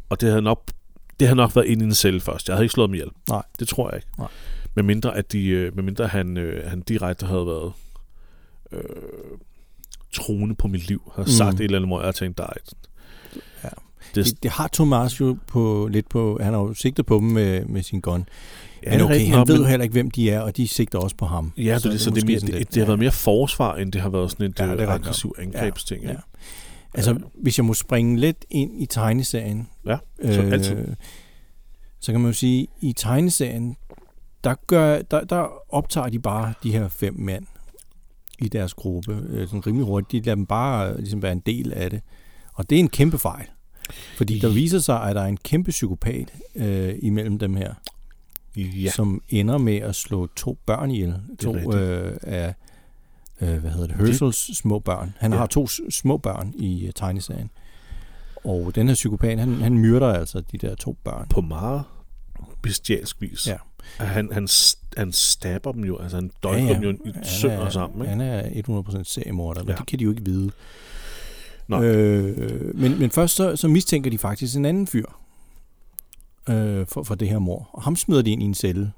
A: Og det havde nok, det havde nok været inde i en celle først. Jeg havde ikke slået dem ihjel.
B: Nej.
A: Det tror jeg ikke.
B: Nej.
A: Med mindre, at de, øh, med mindre han, øh, han direkte havde været øh, troende på mit liv, har
B: Mm.
A: mm. sagt et eller andet, hvor jeg har tænkt, der er et,
B: Ja.
A: Det,
B: Det, det har Thomas jo på, lidt på, han har jo sigtet på dem med, med sin gun.
A: Ja,
B: Ja, men
A: det er
B: okay,
A: rigtigt
B: han
A: nok,
B: ved jo
A: men-
B: heller ikke, hvem de er, og de sigter også på ham.
A: Ja, det, er det, så det, er
B: måske
A: mere,
B: sådan
A: det,
B: lidt-
A: det, har
B: ja.
A: været mere forsvar, end det har været sådan et
B: Ja, det er
A: ja,
B: rigtigt nok.
A: aggressiv angrebsting.
B: Ja.
A: Ja.
B: Altså,
A: Ja.
B: hvis jeg må springe lidt ind i tegneserien. øh,
A: Ja, så altid.
B: Så kan man jo sige, i tegneserien, der, gør, der, der optager de bare de her fem mænd i deres gruppe. Øh, sådan rimelig hurtigt. De lader dem bare øh, ligesom være en del af det. Og det er en kæmpe fejl. Fordi der viser sig, at der er en kæmpe psykopat øh, imellem dem her,
A: Ja.
B: som ender med at slå to børn ihjel. To
A: rigtigt.
B: øh, af, øh, hvad hedder det, Herschels små børn. Han
A: Ja.
B: har to s- små børn i øh, tegneserien. Og den her psykopat, han, han myrder altså de der to børn.
A: På meget bestialsk vis.
B: Ja.
A: Han, han, s- han stabber dem jo, altså han døjper
B: Ja,
A: ja,
B: ja.
A: ja. dem jo i
B: Han
A: sønder
B: er-
A: sammen. Ikke?
B: Han er 100% seriemorder, men
A: Ja.
B: ja. det kan de jo ikke vide.
A: Nej.
B: Øh, men, men først så, så mistænker de faktisk en anden fyr øh, for, for det her mor. Og ham smider de ind i en celle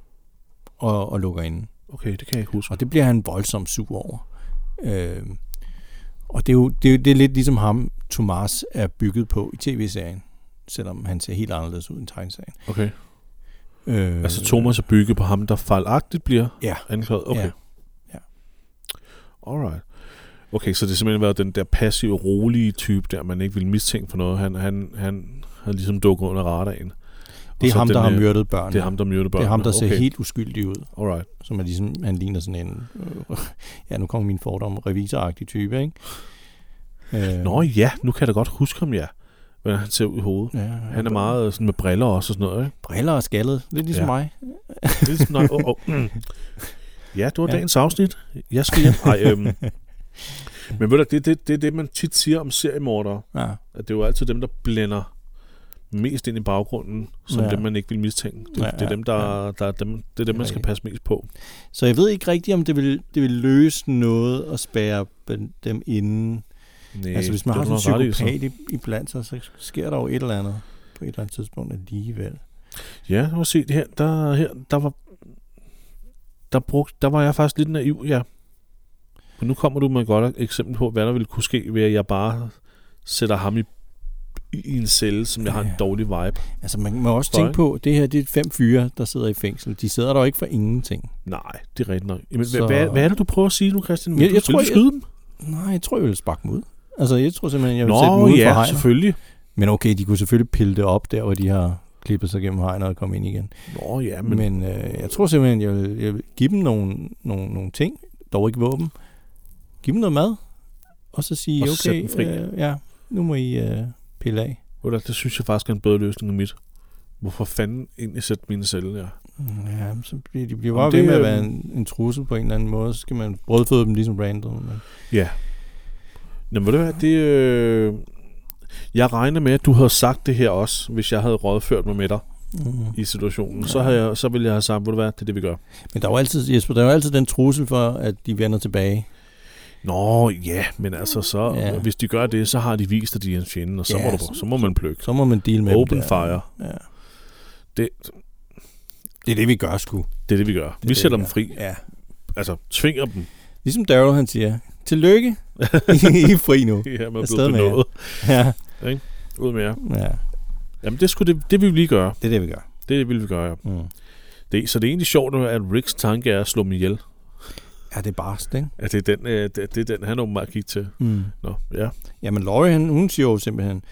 B: og, og lukker inde.
A: Okay, det kan jeg ikke huske.
B: Og det bliver han voldsomt sur over. Øh, og det er jo det er, det er lidt ligesom ham, Thomas er bygget på i tv-serien, selvom han ser helt anderledes ud i tegneserien.
A: Okay.
B: Øh,
A: Altså Thomas er bygget på ham, der fejlagtigt bliver
B: Ja.
A: anklaget. Okay.
B: Ja. Ja.
A: Alright. Okay, så det har simpelthen været den der passive, rolige type der, man ikke ville mistænke for noget. Han, han, han havde ligesom dukket under radaren. Og
B: Det er
A: så
B: ham,
A: den,
B: der har
A: øh,
B: myrdet børnene.
A: Det er ham, der myrdede børn.
B: det er ham, der ser
A: okay.
B: helt uskyldig ud.
A: Alright.
B: som er ligesom, han ligner sådan en, øh, [LAUGHS] ja, nu kommer min fordom, revisoragtig type, ikke? Øh,
A: Nå ja, nu kan jeg da godt huske ham, ja. Hvordan han ser ud i hovedet.
B: ja,
A: Han er meget sådan med briller også og sådan noget, ikke?
B: Briller og skaldet, lidt ligesom
A: Ja.
B: ja. mig.
A: Det er ligesom, nej, oh, oh. Ja, det var ja.
B: Ja.
A: dagens afsnit. Jeg skal hjem. Ej, øhm. Men ved du, det, det, det er det, man tit siger om seriemordere.
B: Ja,
A: At det er jo altid dem, der blænder mest ind i baggrunden, som ja.
B: Ja.
A: dem, man ikke vil mistænke. Det, ja,
B: Ja,
A: ja, det er dem, der, der er dem, det er dem, man skal
B: rigtigt.
A: passe mest på.
B: Så jeg ved ikke rigtigt, om det vil, det vil løse noget at spærre ben- dem inden.
A: Næh,
B: Øh, altså, hvis man
A: det
B: har
A: er du
B: sådan
A: nok
B: en
A: ret i,
B: psykopat i, i blandt sig, så sker der jo et eller andet på et eller andet tidspunkt alligevel.
A: så. Ja, nu se, det her, der, her, der var... Der, brugte, der var jeg faktisk lidt naiv, ja. Men nu kommer du med et godt eksempel på, hvad der ville kunne ske, ved at jeg bare sætter ham i, i en celle, som jeg har en
B: Ja.
A: dårlig vibe.
B: Altså, man må også
A: For,
B: tænke
A: ikke?
B: på, det her det er fem fyre, der sidder i fængsel. De sidder der jo ikke for ingenting.
A: Nej, det er rigtigt nok. Jamen,
B: Så-
A: så... hvad, hvad er det, du prøver at sige nu, Christian?
B: Jeg-
A: Du
B: jeg
A: skal
B: tror,
A: ikke skyde dem?
B: Nej, jeg tror, jeg vil sparke dem ud. Altså, jeg tror simpelthen, jeg vil sætte dem
A: Nå,
B: ud for
A: ja,
B: hegnet.
A: selvfølgelig.
B: Men okay, de kunne selvfølgelig pille det op der, hvor de har klippet sig gennem hegnet og kommet ind igen.
A: Nå, ja, men,
B: Men, men øh, jeg tror simpelthen, jeg vil, jeg vil give dem nogle, nogle, nogle ting, dog ikke våben. Giv dem noget mad, og så sige,
A: Og så sæt
B: okay,
A: dem fri.
B: Øh, ja, nu må I øh, pille af.
A: Ved du hvad, det synes jeg faktisk er en bedre løsning end mit. Hvorfor fanden egentlig sætte mine celler der?
B: Mm, Ja, men så bliver de bliver
A: Jamen,
B: bare
A: det,
B: ved med at
A: øh,
B: være en, en trussel på en eller anden måde, så skal man brødføde dem ligesom random. Men,
A: Ja. Nå, ved du hvad, det... Øh... Jeg regner med, at du havde sagt det her også, hvis jeg havde rådført mig med dig
B: mm.
A: i situationen. Ja.
B: Ja.
A: Så, havde jeg, så ville jeg have sagt, ved du hvad, det er det, vi gør.
B: men der er jo altid, Jesper, der er jo altid den trussel for, at de vender tilbage.
A: Nå, ja, men altså så, ja.
B: Ja.
A: hvis de gør det, så har de vist, at de er en fjende, og så,
B: Ja,
A: må, du,
B: så-
A: så må man plukke.
B: Så må man deal med
A: Open
B: dem der.
A: fire.
B: Ja.
A: Det-
B: det er det, vi gør sgu.
A: Det er det, vi gør. Det vi
B: det,
A: sætter
B: vi
A: dem
B: gør.
A: fri.
B: Ja.
A: Altså, tvinger dem.
B: Ligesom Daryl, han siger,
A: [LAUGHS]
B: tillykke, I er fri nu.
A: Det her med at
B: Afsted
A: blive
B: med jer.
A: benådet.
B: Ja.
A: Ud med jer.
B: ja,
A: Jamen, det, skulle det, det vil vi lige gøre.
B: det er det, vi gør.
A: Det vil vi gøre, ja.
B: Mm.
A: Det, så det er egentlig sjovt, at Ricks tanke er at slå mig ihjel.
B: Ja, det er barst, ikke?
A: At det er den, øh, det, det er den han åbenbart gik til.
B: Mm.
A: Nå, ja.
B: Jamen, Laurie, han, hun siger jo simpelthen,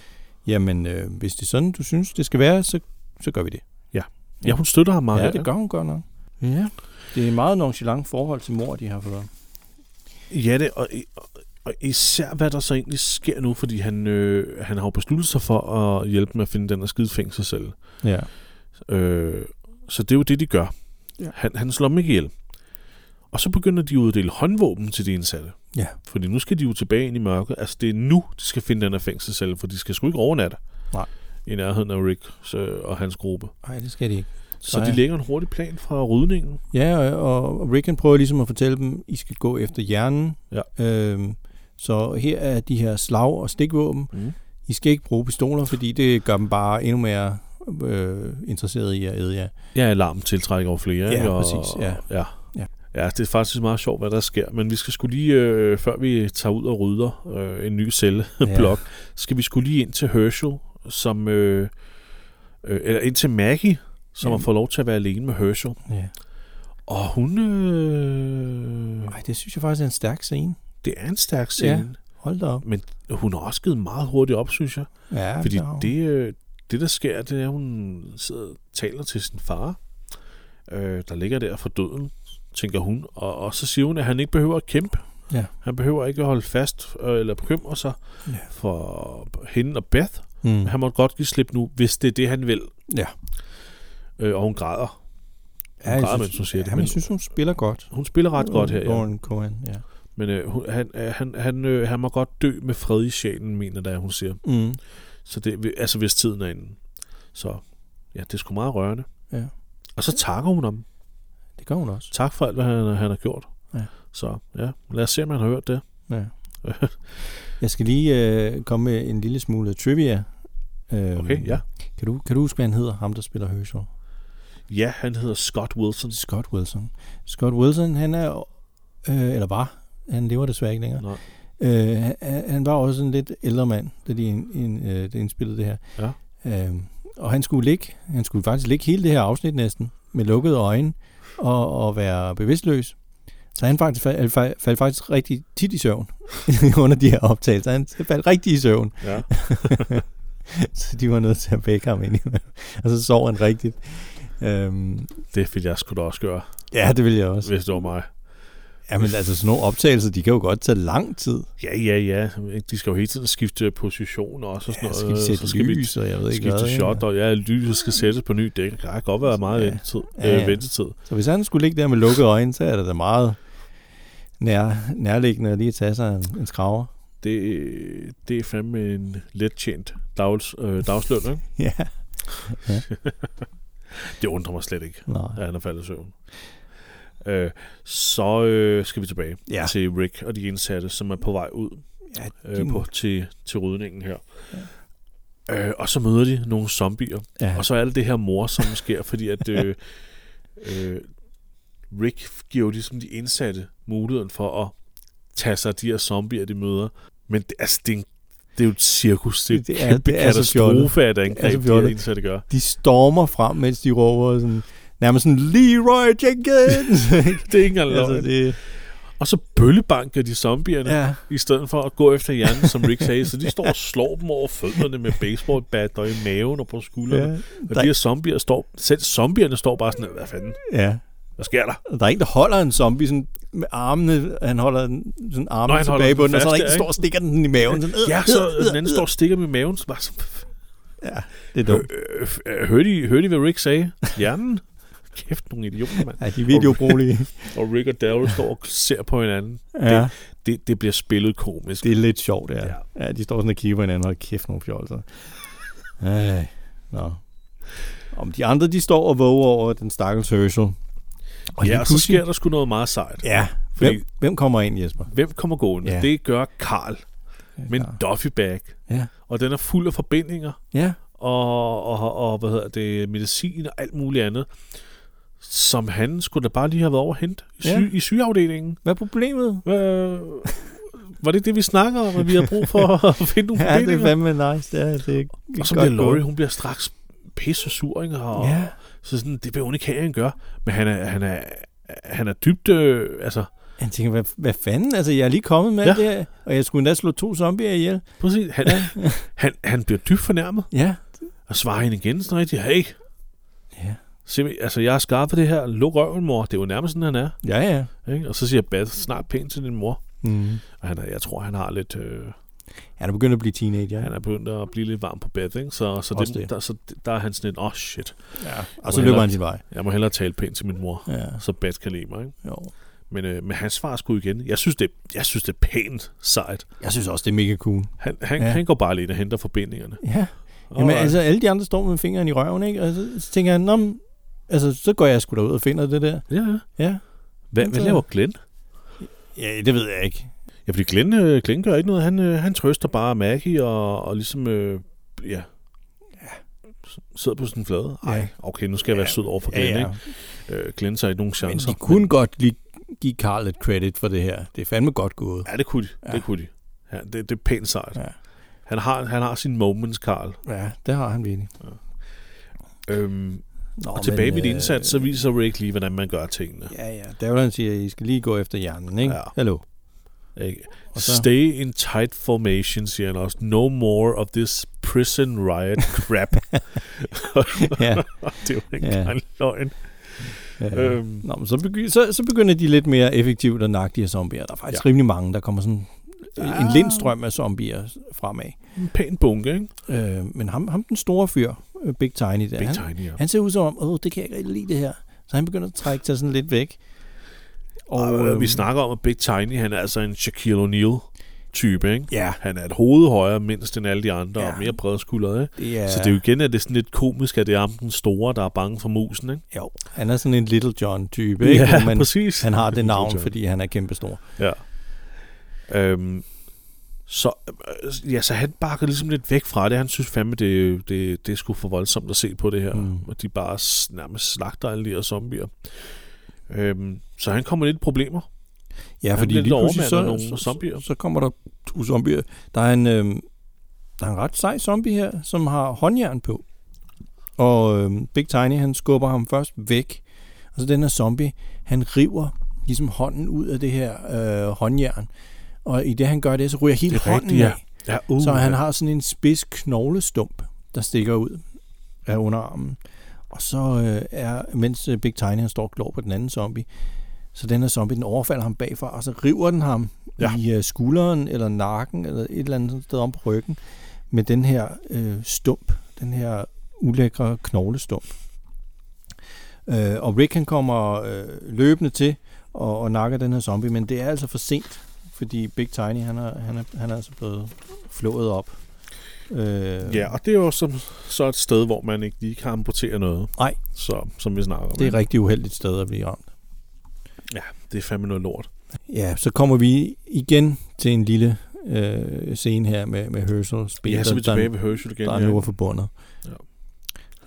B: jamen, øh, hvis det er sådan, du synes, det skal være, så, så gør vi det.
A: Ja, hun støtter ham meget.
B: ja, det gør hun godt nok. Ja. Det er et meget nonchalant forhold til mor, de har fået.
A: Ja, det, og, og, og især hvad der så egentlig sker nu, fordi han, øh, han har jo besluttet sig for at hjælpe med at finde den her skide fængselscelle.
B: Ja.
A: Øh, så det er jo det, de gør.
B: Ja.
A: Han, han slår dem ikke ihjel. Og så begynder de at uddele håndvåben til de indsatte.
B: Ja.
A: Fordi nu skal de jo tilbage ind i mørket. Altså, det er nu, de skal finde den her fængselscelle, for de skal sgu ikke overnatte.
B: Nej.
A: I nærheden af Rick så, og hans gruppe.
B: Nej, det skal de ikke.
A: Så
B: Nej.
A: de lægger en hurtig plan fra rydningen.
B: Ja, og- og, og Rick han prøver ligesom at fortælle dem, I skal gå efter hjernen.
A: Ja.
B: Øhm, så her er de her slag- og stikvåben.
A: Mm.
B: I skal ikke bruge pistoler, fordi det gør dem bare endnu mere øh, interesserede i at æde
A: [LAUGHS]
B: jer.
A: Ja, alarm tiltrækker over flere.
B: Ja,
A: ikke? og,
B: præcis, ja.
A: ja.
B: Ja.
A: Ja, det er faktisk meget sjovt, hvad der sker. Men vi skal skulle lige, øh, før vi tager ud og rydder øh, en ny celleblok, ja. skal vi skulle lige ind til Herschel, som, øh, øh, eller ind til Maggie, som
B: Ja.
A: har fået lov til at være alene med Herschel.
B: Ja.
A: Og hun, øh,
B: Ej, det synes jeg faktisk er en stærk scene.
A: det er en stærk scene.
B: Hold da op.
A: Ja. Hun har også givet meget hurtigt op, synes jeg.
B: Ja,
A: Fordi
B: der er jo-
A: det, øh, det, der sker, det er, at hun sidder og taler til sin far, øh, der ligger der for døden, tænker hun. Og, og så siger hun, at han ikke behøver at kæmpe.
B: Ja.
A: Han behøver ikke at holde fast øh, eller bekymre sig
B: Ja.
A: for hende og Beth.
B: Mm.
A: Men han måtte godt give slip nu, hvis det er det, han vil.
B: Ja.
A: Øh, og hun græder. Hun
B: jeg
A: græder,
B: synes-
A: mens hun siger det.
B: Ja, men
A: Men
B: jeg synes, hun spiller godt.
A: hun spiller ret godt her, ja.
B: Lauren Cohen, ja.
A: Men øh, hun, han, øh, han, han, øh, han må godt dø med fred i sjælen, mener der, hun siger.
B: Mm.
A: Så det, altså hvis tiden er inde. Så ja, det er sgu meget rørende.
B: Ja.
A: Og så takker hun ham.
B: Det gør hun også.
A: Tak for alt, hvad han, han har gjort.
B: Ja.
A: Så ja, lad os se, om han har hørt det. [LAUGHS]
B: Ja. Jeg skal lige øh, komme med en lille smule trivia. Øhm,
A: okay, ja.
B: Kan du, kan du huske, hvad han hedder, ham der spiller Herschel?
A: Ja, han hedder Scott Wilson.
B: Scott Wilson. Scott Wilson, han er, øh, eller var, han lever desværre ikke længere.
A: Nej.
B: Øh, han- han var også en lidt ældre mand, da de ind, ind, øh, de indspillede det her.
A: Ja.
B: Øh, og han skulle ligge, han skulle faktisk ligge hele det her afsnit næsten, med lukkede øjne og, og være bevidstløs. Så han faktisk, fald, fald, faldt faktisk rigtig tit i søvn [LAUGHS] under de her optagelser. Han faldt rigtig i søvn. [LAUGHS]
A: Ja.
B: så de var nødt til at vække ham ind [LAUGHS] Og så sov han rigtigt. Øhm,
A: Det ville jeg sgu da også gøre,
B: ja, det ville jeg også.
A: hvis det var mig.
B: Jamen altså, sådan nogle optagelser, de kan jo godt tage lang tid.
A: Ja, ja, ja. De skal jo hele tiden skifte position også, og sådan
B: Ja,
A: noget. øh,
B: skal de sætte
A: så skal
B: lys, og jeg ved
A: vi
B: ikke hvad.
A: skifte
B: ikke?
A: shot, og ja, lyset skal sættes på ny dæk. Det kan godt være meget
B: Ja.
A: ventetid.
B: Ja, ja.
A: Øh, ventetid.
B: Så hvis han skulle ligge der med lukkede øjne, så er det da meget nær, nærliggende at lige tage sig en, en
A: [LAUGHS]
B: skraver.
A: Det, det er fandme en let tjent dags, øh, dagsløn, ikke?
B: Ja.
A: Det undrer mig slet ikke,
B: Nej.
A: at han er faldet i søvn. Øh, så øh, skal vi tilbage
B: Ja.
A: til Rick og de indsatte, som er på vej ud
B: Ja, de
A: øh,
B: må-
A: på, til, til rydningen her. Ja. Øh, og så møder de nogle zombier,
B: ja.
A: Og så er alt det her mor, som sker, fordi at
B: [LAUGHS]
A: øh, øh, Rick giver jo ligesom de indsatte muligheden for at tage sig af de her zombier, de møder. Men det, altså, det, er en, det er jo et cirkus. Det er,
B: Det
A: det
B: er-
A: er, kæmpe
B: det er så
A: katastrofe, at der
B: Det er så
A: angreb, de her
B: fjollet.
A: indsatte gør.
B: De stormer frem, mens de råber sådan, nærmest sådan, Leroy Jenkins! [LAUGHS]
A: [LAUGHS] Det er ikke engang
B: altså,
A: løgn.
B: det,
A: Og så bøllebanker de zombierne, ja.
B: ja.
A: i stedet for at gå efter hjernen, som Rick sagde. Så de står og slår dem over fødderne med baseballbat og i maven og på skuldrene.
B: Ja,
A: Ja. Og
B: der,
A: de her zombier står, selv zombierne står bare sådan, hvad fanden,
B: ja.
A: hvad sker der?
B: Og der er en, der holder en zombie sådan, med armene, han holder den, sådan
A: Nå,
B: armene
A: han holder
B: tilbage
A: den
B: på den, og så er der
A: fast der,
B: en, der står og stikker den i maven. Sådan,
A: Ja, så den anden står og stikker med maven, så bare så,
B: Ja, [LAUGHS] det er
A: Øh,
B: dumt.
A: øh, øh, hørte, I, hørte I, hvad Rick sagde? Hjernen? Kæft, nogle idioter, mand.
B: Ja, de er virkelig [LAUGHS] ubrugelige.
A: Og Rick og Daryl står og ser på hinanden.
B: ja.
A: Det, det bliver spillet komisk.
B: Det er lidt sjovt, det er. Ja. ja de står sådan og kigger på hinanden, og hold kæft, nogle fjolser. Ej, nå. Om de andre, de står og våger over den stakkels Herschel.
A: og
B: lige
A: ja, og så
B: pludselig-
A: sker der sgu noget meget sejt.
B: Ja,
A: Fordi-
B: hvem, hvem kommer ind, Jesper?
A: Hvem kommer gående?
B: Ja.
A: Ja. Det gør Karl med en
B: Ja.
A: duffybag.
B: Ja.
A: Og den er fuld af forbindinger
B: Ja,
A: og, og, og hvad hedder det, medicin og alt muligt andet, som han skulle da bare lige have været over at hente i, syge,
B: Ja.
A: i sygeafdelingen.
B: hvad er problemet?
A: Øh, var det det, vi snakker om, at vi har brug for at [LAUGHS] finde nogle
B: Ja, det
A: forbindinger?
B: er fandme nice. Ja, det er
A: Og så
B: godt
A: bliver Laurie,
B: gået.
A: hun bliver straks pisse sur, ikke? Og, ja.
B: Ja,
A: Så sådan, det vil hun ikke have, han gør. Men han er, han er, han er dybt, øh, altså,
B: han tænker, hvad, hvad fanden? Altså, jeg er lige kommet med
A: Ja.
B: ja. det her, og jeg skulle endda slå to zombier ihjel.
A: prøv at se, han,
B: [LAUGHS]
A: han, han bliver dybt fornærmet
B: Ja.
A: og svarer hende igen sådan rigtig, hey,
B: Ja,
A: se, altså, jeg har skaffet det her, luk røven, mor. Det er jo nærmest sådan, han er.
B: ja. ja.
A: Ikke? Og så siger Beth snart pænt til din mor.
B: Mm.
A: Og han er, jeg tror, han har lidt, øh,
B: Han er begyndt at blive teenager.
A: han er begyndt at blive lidt varm på Beth, ikke? Så, så, det,
B: Også det.
A: det. Der, så der er han sådan en, åh oh, shit,
B: Ja.
A: Må
B: Og så
A: hellere-
B: løber han sin vej.
A: jeg må hellere tale pænt til min mor,
B: Ja,
A: så Beth kan lide mig, ikke?
B: jo.
A: Men, øh, men han svarer sgu igen. Jeg synes, det, jeg synes, det er pænt sejt.
B: Jeg synes også, det er mega cool.
A: Han, han,
B: Ja.
A: ja. han går bare lige og henter forbindingerne.
B: Ja. Jamen
A: Alright.
B: altså, alle de andre står med fingeren i røven, ikke? Og så, så tænker jeg, Nå, men, altså, så går jeg sgu derud og finder det der.
A: Ja, ja.
B: Ja.
A: Hvad,
B: Men
A: hvad
B: så-
A: laver Glenn?
B: Ja, det ved jeg ikke.
A: Ja, fordi Glenn, øh, Glenn gør ikke noget. Han, øh, han trøster bare Maggie og, og ligesom, øh, ja, S- sidder på sådan en flade.
B: Ja.
A: Ej, okay, nu skal jeg være sød over for
B: Ja,
A: Glenn,
B: ja.
A: ikke? Øh, Glenn tager ikke nogen
B: Men
A: chancer.
B: de kunne godt lige give Carl lidt credit for det her. Det er fandme godt gået.
A: Ja, det kunne de.
B: Ja.
A: Ja. Det kunne de. Ja, det, det er pænt sejt.
B: Ja.
A: Ja. Han, har, han har sin moments, Karl.
B: Ja, det har han virkelig.
A: Øhm,
B: Nå,
A: og tilbage med
B: men, øh,
A: dit indsats, så viser Rick lige, hvordan man gør tingene.
B: Ja, ja. Der vil han sige, at I skal lige gå efter hjernen, ikke?
A: Ja.
B: Hallo.
A: Ikke?
B: Og så-
A: Stay in tight formation, siger han også. No more of this prison riot crap.
B: [LAUGHS]
A: [LAUGHS]
B: Ja.
A: det er jo ikke
B: Ja.
A: ja. en løgn.
B: ja.
A: Øhm,
B: Øh. Nå, men så, begy- så, så begynder de lidt mere effektivt at nakke de her zombier. Der er faktisk ja. rimelig mange, der kommer sådan en lindstrøm af zombier fremad.
A: en pæn bunke, ikke?
B: Øh, men ham, ham den store fyr, øh, Big Tiny der,
A: Big
B: han,
A: Tiny, ja.
B: han ser ud som om, åh, det kan jeg ikke rigtig lide det her. Så han begynder at trække sig sådan lidt væk.
A: Og øh, vi
B: øhm,
A: snakker om, at Big Tiny, han er altså en Shaquille O'Neal-type, ikke?
B: Ja,
A: Han er et hoved højere mindst end alle de andre, ja.
B: Ja.
A: og mere bredskuldret, ikke?
B: det er,
A: Ja. Så det er jo igen, at det er sådan lidt komisk, at det er ham den store, der er bange for musen, ikke?
B: jo, han er sådan en Little John-type, ikke? Hvor man,
A: præcis.
B: han har det
A: Little
B: navn,
A: John.
B: fordi han er kæmpestor.
A: Ja. Øhm, så, øh, ja, så han bakker ligesom lidt væk fra det. Han synes fandme, det, det, det er sgu for voldsomt at se på det her. Mm.
B: Mm.
A: Og de bare s- nærmest slagter alle de her zombier. Øhm, så han kommer lidt i problemer.
B: Ja,
A: Han
B: fordi
A: bliver
B: lige pludselig
A: overmandet
B: så,
A: af nogle
B: så,
A: zombier.
B: så, så kommer der to zombier. Der er en, øh, der er en ret sej zombie her, som har håndjern på. Og øh, Big Tiny, han skubber ham først væk. Og så den her zombie, han river ligesom hånden ud af det her øh, håndjern. Og i det, han gør det, så ryger hele
A: Det er
B: hånden
A: rigtigt, ja.
B: af.
A: Ja, uh,
B: Så han har sådan en spids knoglestump, der stikker ud af underarmen. Og så øh, er, mens øh, Big Tiny han står og glor på den anden zombie, så den her zombie, den overfalder ham bagfra, og så river den ham
A: Ja.
B: ja. i øh, skulderen, eller nakken, eller et eller andet sted om på ryggen, med den her øh, stump, den her ulækre knoglestump. Øh, og Rick han kommer øh, løbende til og, og nakker den her zombie, men det er altså for sent, fordi Big Tiny, han er, han er, han er altså blevet flået op. Øh,
A: Ja, og det er jo som, så et sted, hvor man ikke lige kan amputere noget.
B: Nej.
A: Så, som vi snakker om.
B: Det er et
A: ikke?
B: rigtig uheldigt sted at blive ramt.
A: det er fandme noget lort.
B: Ja, så kommer vi igen til en lille øh, scene her med, med Herschel spiller,
A: Ja, så er vi
B: der,
A: tilbage ved Herschel igen.
B: der
A: ja.
B: nu var forbundet.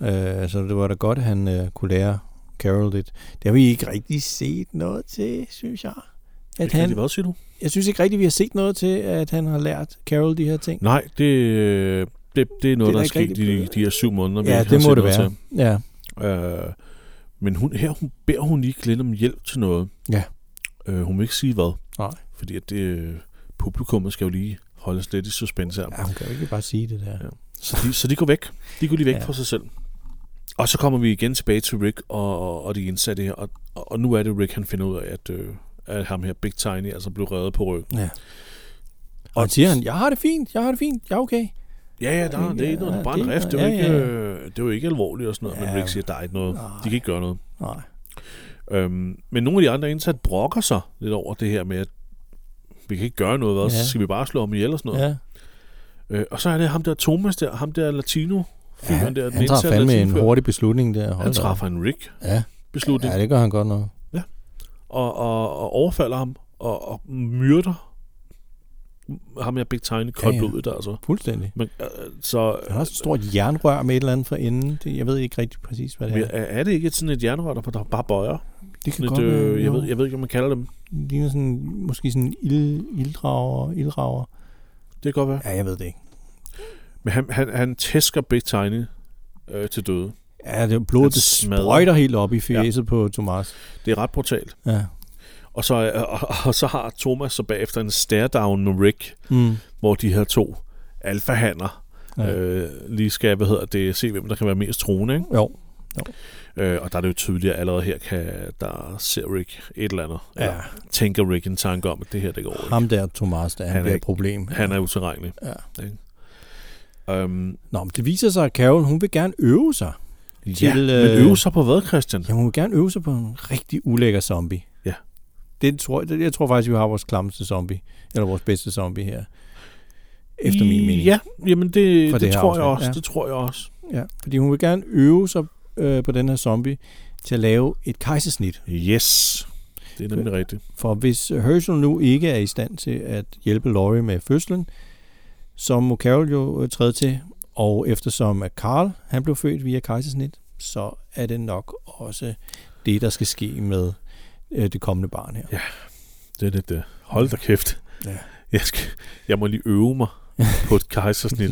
B: Ja. Øh, så det var da godt, at han øh, kunne lære Carol lidt. Det har vi ikke rigtig set noget til, synes jeg. At
A: Ikke rigtig,
B: han,
A: Hvad siger du?
B: jeg synes ikke rigtig, vi har set noget til, at han har lært Carol de her ting.
A: Nej, det, øh, det, det er noget, det er der
B: da
A: er
B: ikke
A: sket
B: rigtig
A: i
B: blevet-
A: de her syv måneder. vi
B: ja,
A: ikke har
B: det må
A: set
B: det
A: noget til.
B: være. Ja,
A: Øh, men hun, her hun beder hun ikke lidt om hjælp til noget.
B: Ja.
A: Øh, hun vil ikke sige hvad.
B: Nej.
A: Fordi at det, øh, publikummet skal jo lige holdes lidt i suspense her. Ja.
B: ja, hun kan jo ikke bare sige det der.
A: Så, de, så de går væk. De går lige væk ja.
B: Ja.
A: fra sig selv. Og så kommer vi igen tilbage til Rick og, og, og de indsatte her. Og, og nu er det Rick, han finder ud af, at, øh, at ham her Big Tiny altså blev reddet på ryggen.
B: Ja. Og han siger han, jeg har det fint, jeg har det fint, jeg er okay.
A: Ja, ja, der,
B: Ja,
A: det er ikke noget,
B: ja,
A: bare en
B: det-
A: rift. Det er jo
B: ja,
A: ikke,
B: ja, ja.
A: øh, det er jo ikke alvorligt og sådan noget. Men
B: Ja.
A: Rick siger, der er ikke noget.
B: Nej.
A: De kan ikke gøre noget.
B: Nej.
A: Øhm, men nogle af de andre indsatte brokker sig lidt over det her med, at vi kan ikke gøre noget, hvad?
B: Ja.
A: så skal vi bare slå ham ihjel og sådan noget.
B: Ja.
A: Ja. Øh, og så er det ham der Thomas der, ham der latino.
B: Ja,
A: fyren
B: han,
A: der, den
B: han tager
A: indsatte
B: fandme en
A: latinfyr.
B: hurtig beslutning der. Hold
A: Han
B: da op.
A: træffer en Rick
B: Ja,
A: beslutning
B: ja, det gør han godt nok.
A: og, og, og overfalder ham og, og myrder ham her Big Tiny koldt
B: Ja,
A: ja,
B: ja.
A: ja. der altså.
B: Fuldstændig.
A: Men, øh, så
B: Han har også et stort jernrør med et eller andet for enden. Det, jeg ved ikke rigtig præcis, hvad det
A: men
B: er.
A: er, er det ikke sådan et jernrør, der der bare bøjer?
B: Det kan
A: Lidt,
B: godt være,
A: øh, jeg,
B: jo.
A: ved, jeg ved ikke, om man kalder dem.
B: Det ligner sådan, måske sådan ild, ilddrager, ildrager.
A: Det kan godt være.
B: Ja, jeg ved det ikke.
A: Men han, han, han tæsker Big Tiny øh, til døde.
B: Ja, det blodet
A: Han
B: det
A: smadrer.
B: sprøjter helt op i fjeset ja. på Thomas.
A: Det er ret brutalt.
B: Ja.
A: Og så, øh, og, og så har Thomas så bagefter en stare-down med Rick,
B: Mm.
A: hvor de her to alfahander
B: ja.
A: ja. øh, lige skal hvad hedder det, se, hvem der kan være mest troende. Ikke?
B: Jo.
A: Øh, og der er det jo tydeligt, at allerede her kan der ser Rick et eller andet.
B: Ja.
A: Eller tænker Rick en tanke om, at det her det går ikke.
B: Ham der, Thomas, der, han,
A: Han er
B: han bliver et
A: ikke-
B: problem.
A: Han er utilregnelig.
B: Ja.
A: Ikke? Øhm,
B: Nå, men det viser sig, at Carol, hun vil gerne øve sig.
A: ja,
B: Til,
A: men
B: øh,
A: øve sig på hvad, Christian?
B: Ja, hun vil gerne øve sig på en rigtig ulækker zombie.
A: Ja.
B: Det tror, det, jeg tror faktisk, vi har vores klammeste zombie, eller vores bedste zombie her. Efter min
A: I-
B: mening.
A: Ja, jamen det,
B: For
A: det,
B: det
A: det,
B: her
A: tror jeg også,
B: afsnit, ja.
A: det tror jeg også.
B: ja. Fordi hun vil gerne øve sig øh, på den her zombie til at lave et kejsersnit.
A: Yes, det er nemlig rigtigt.
B: For hvis Herschel nu ikke er i stand til at hjælpe Laurie med fødslen, så må Carol jo øh, træde til. Og eftersom at Carl han blev født via kejsersnit, så er det nok også det, der skal ske med øh, det kommende barn her.
A: Det er lidt det. Hold da kæft.
B: Ja.
A: Jeg, skal, jeg må lige øve
B: [LAUGHS]
A: mig på et kejsersnit.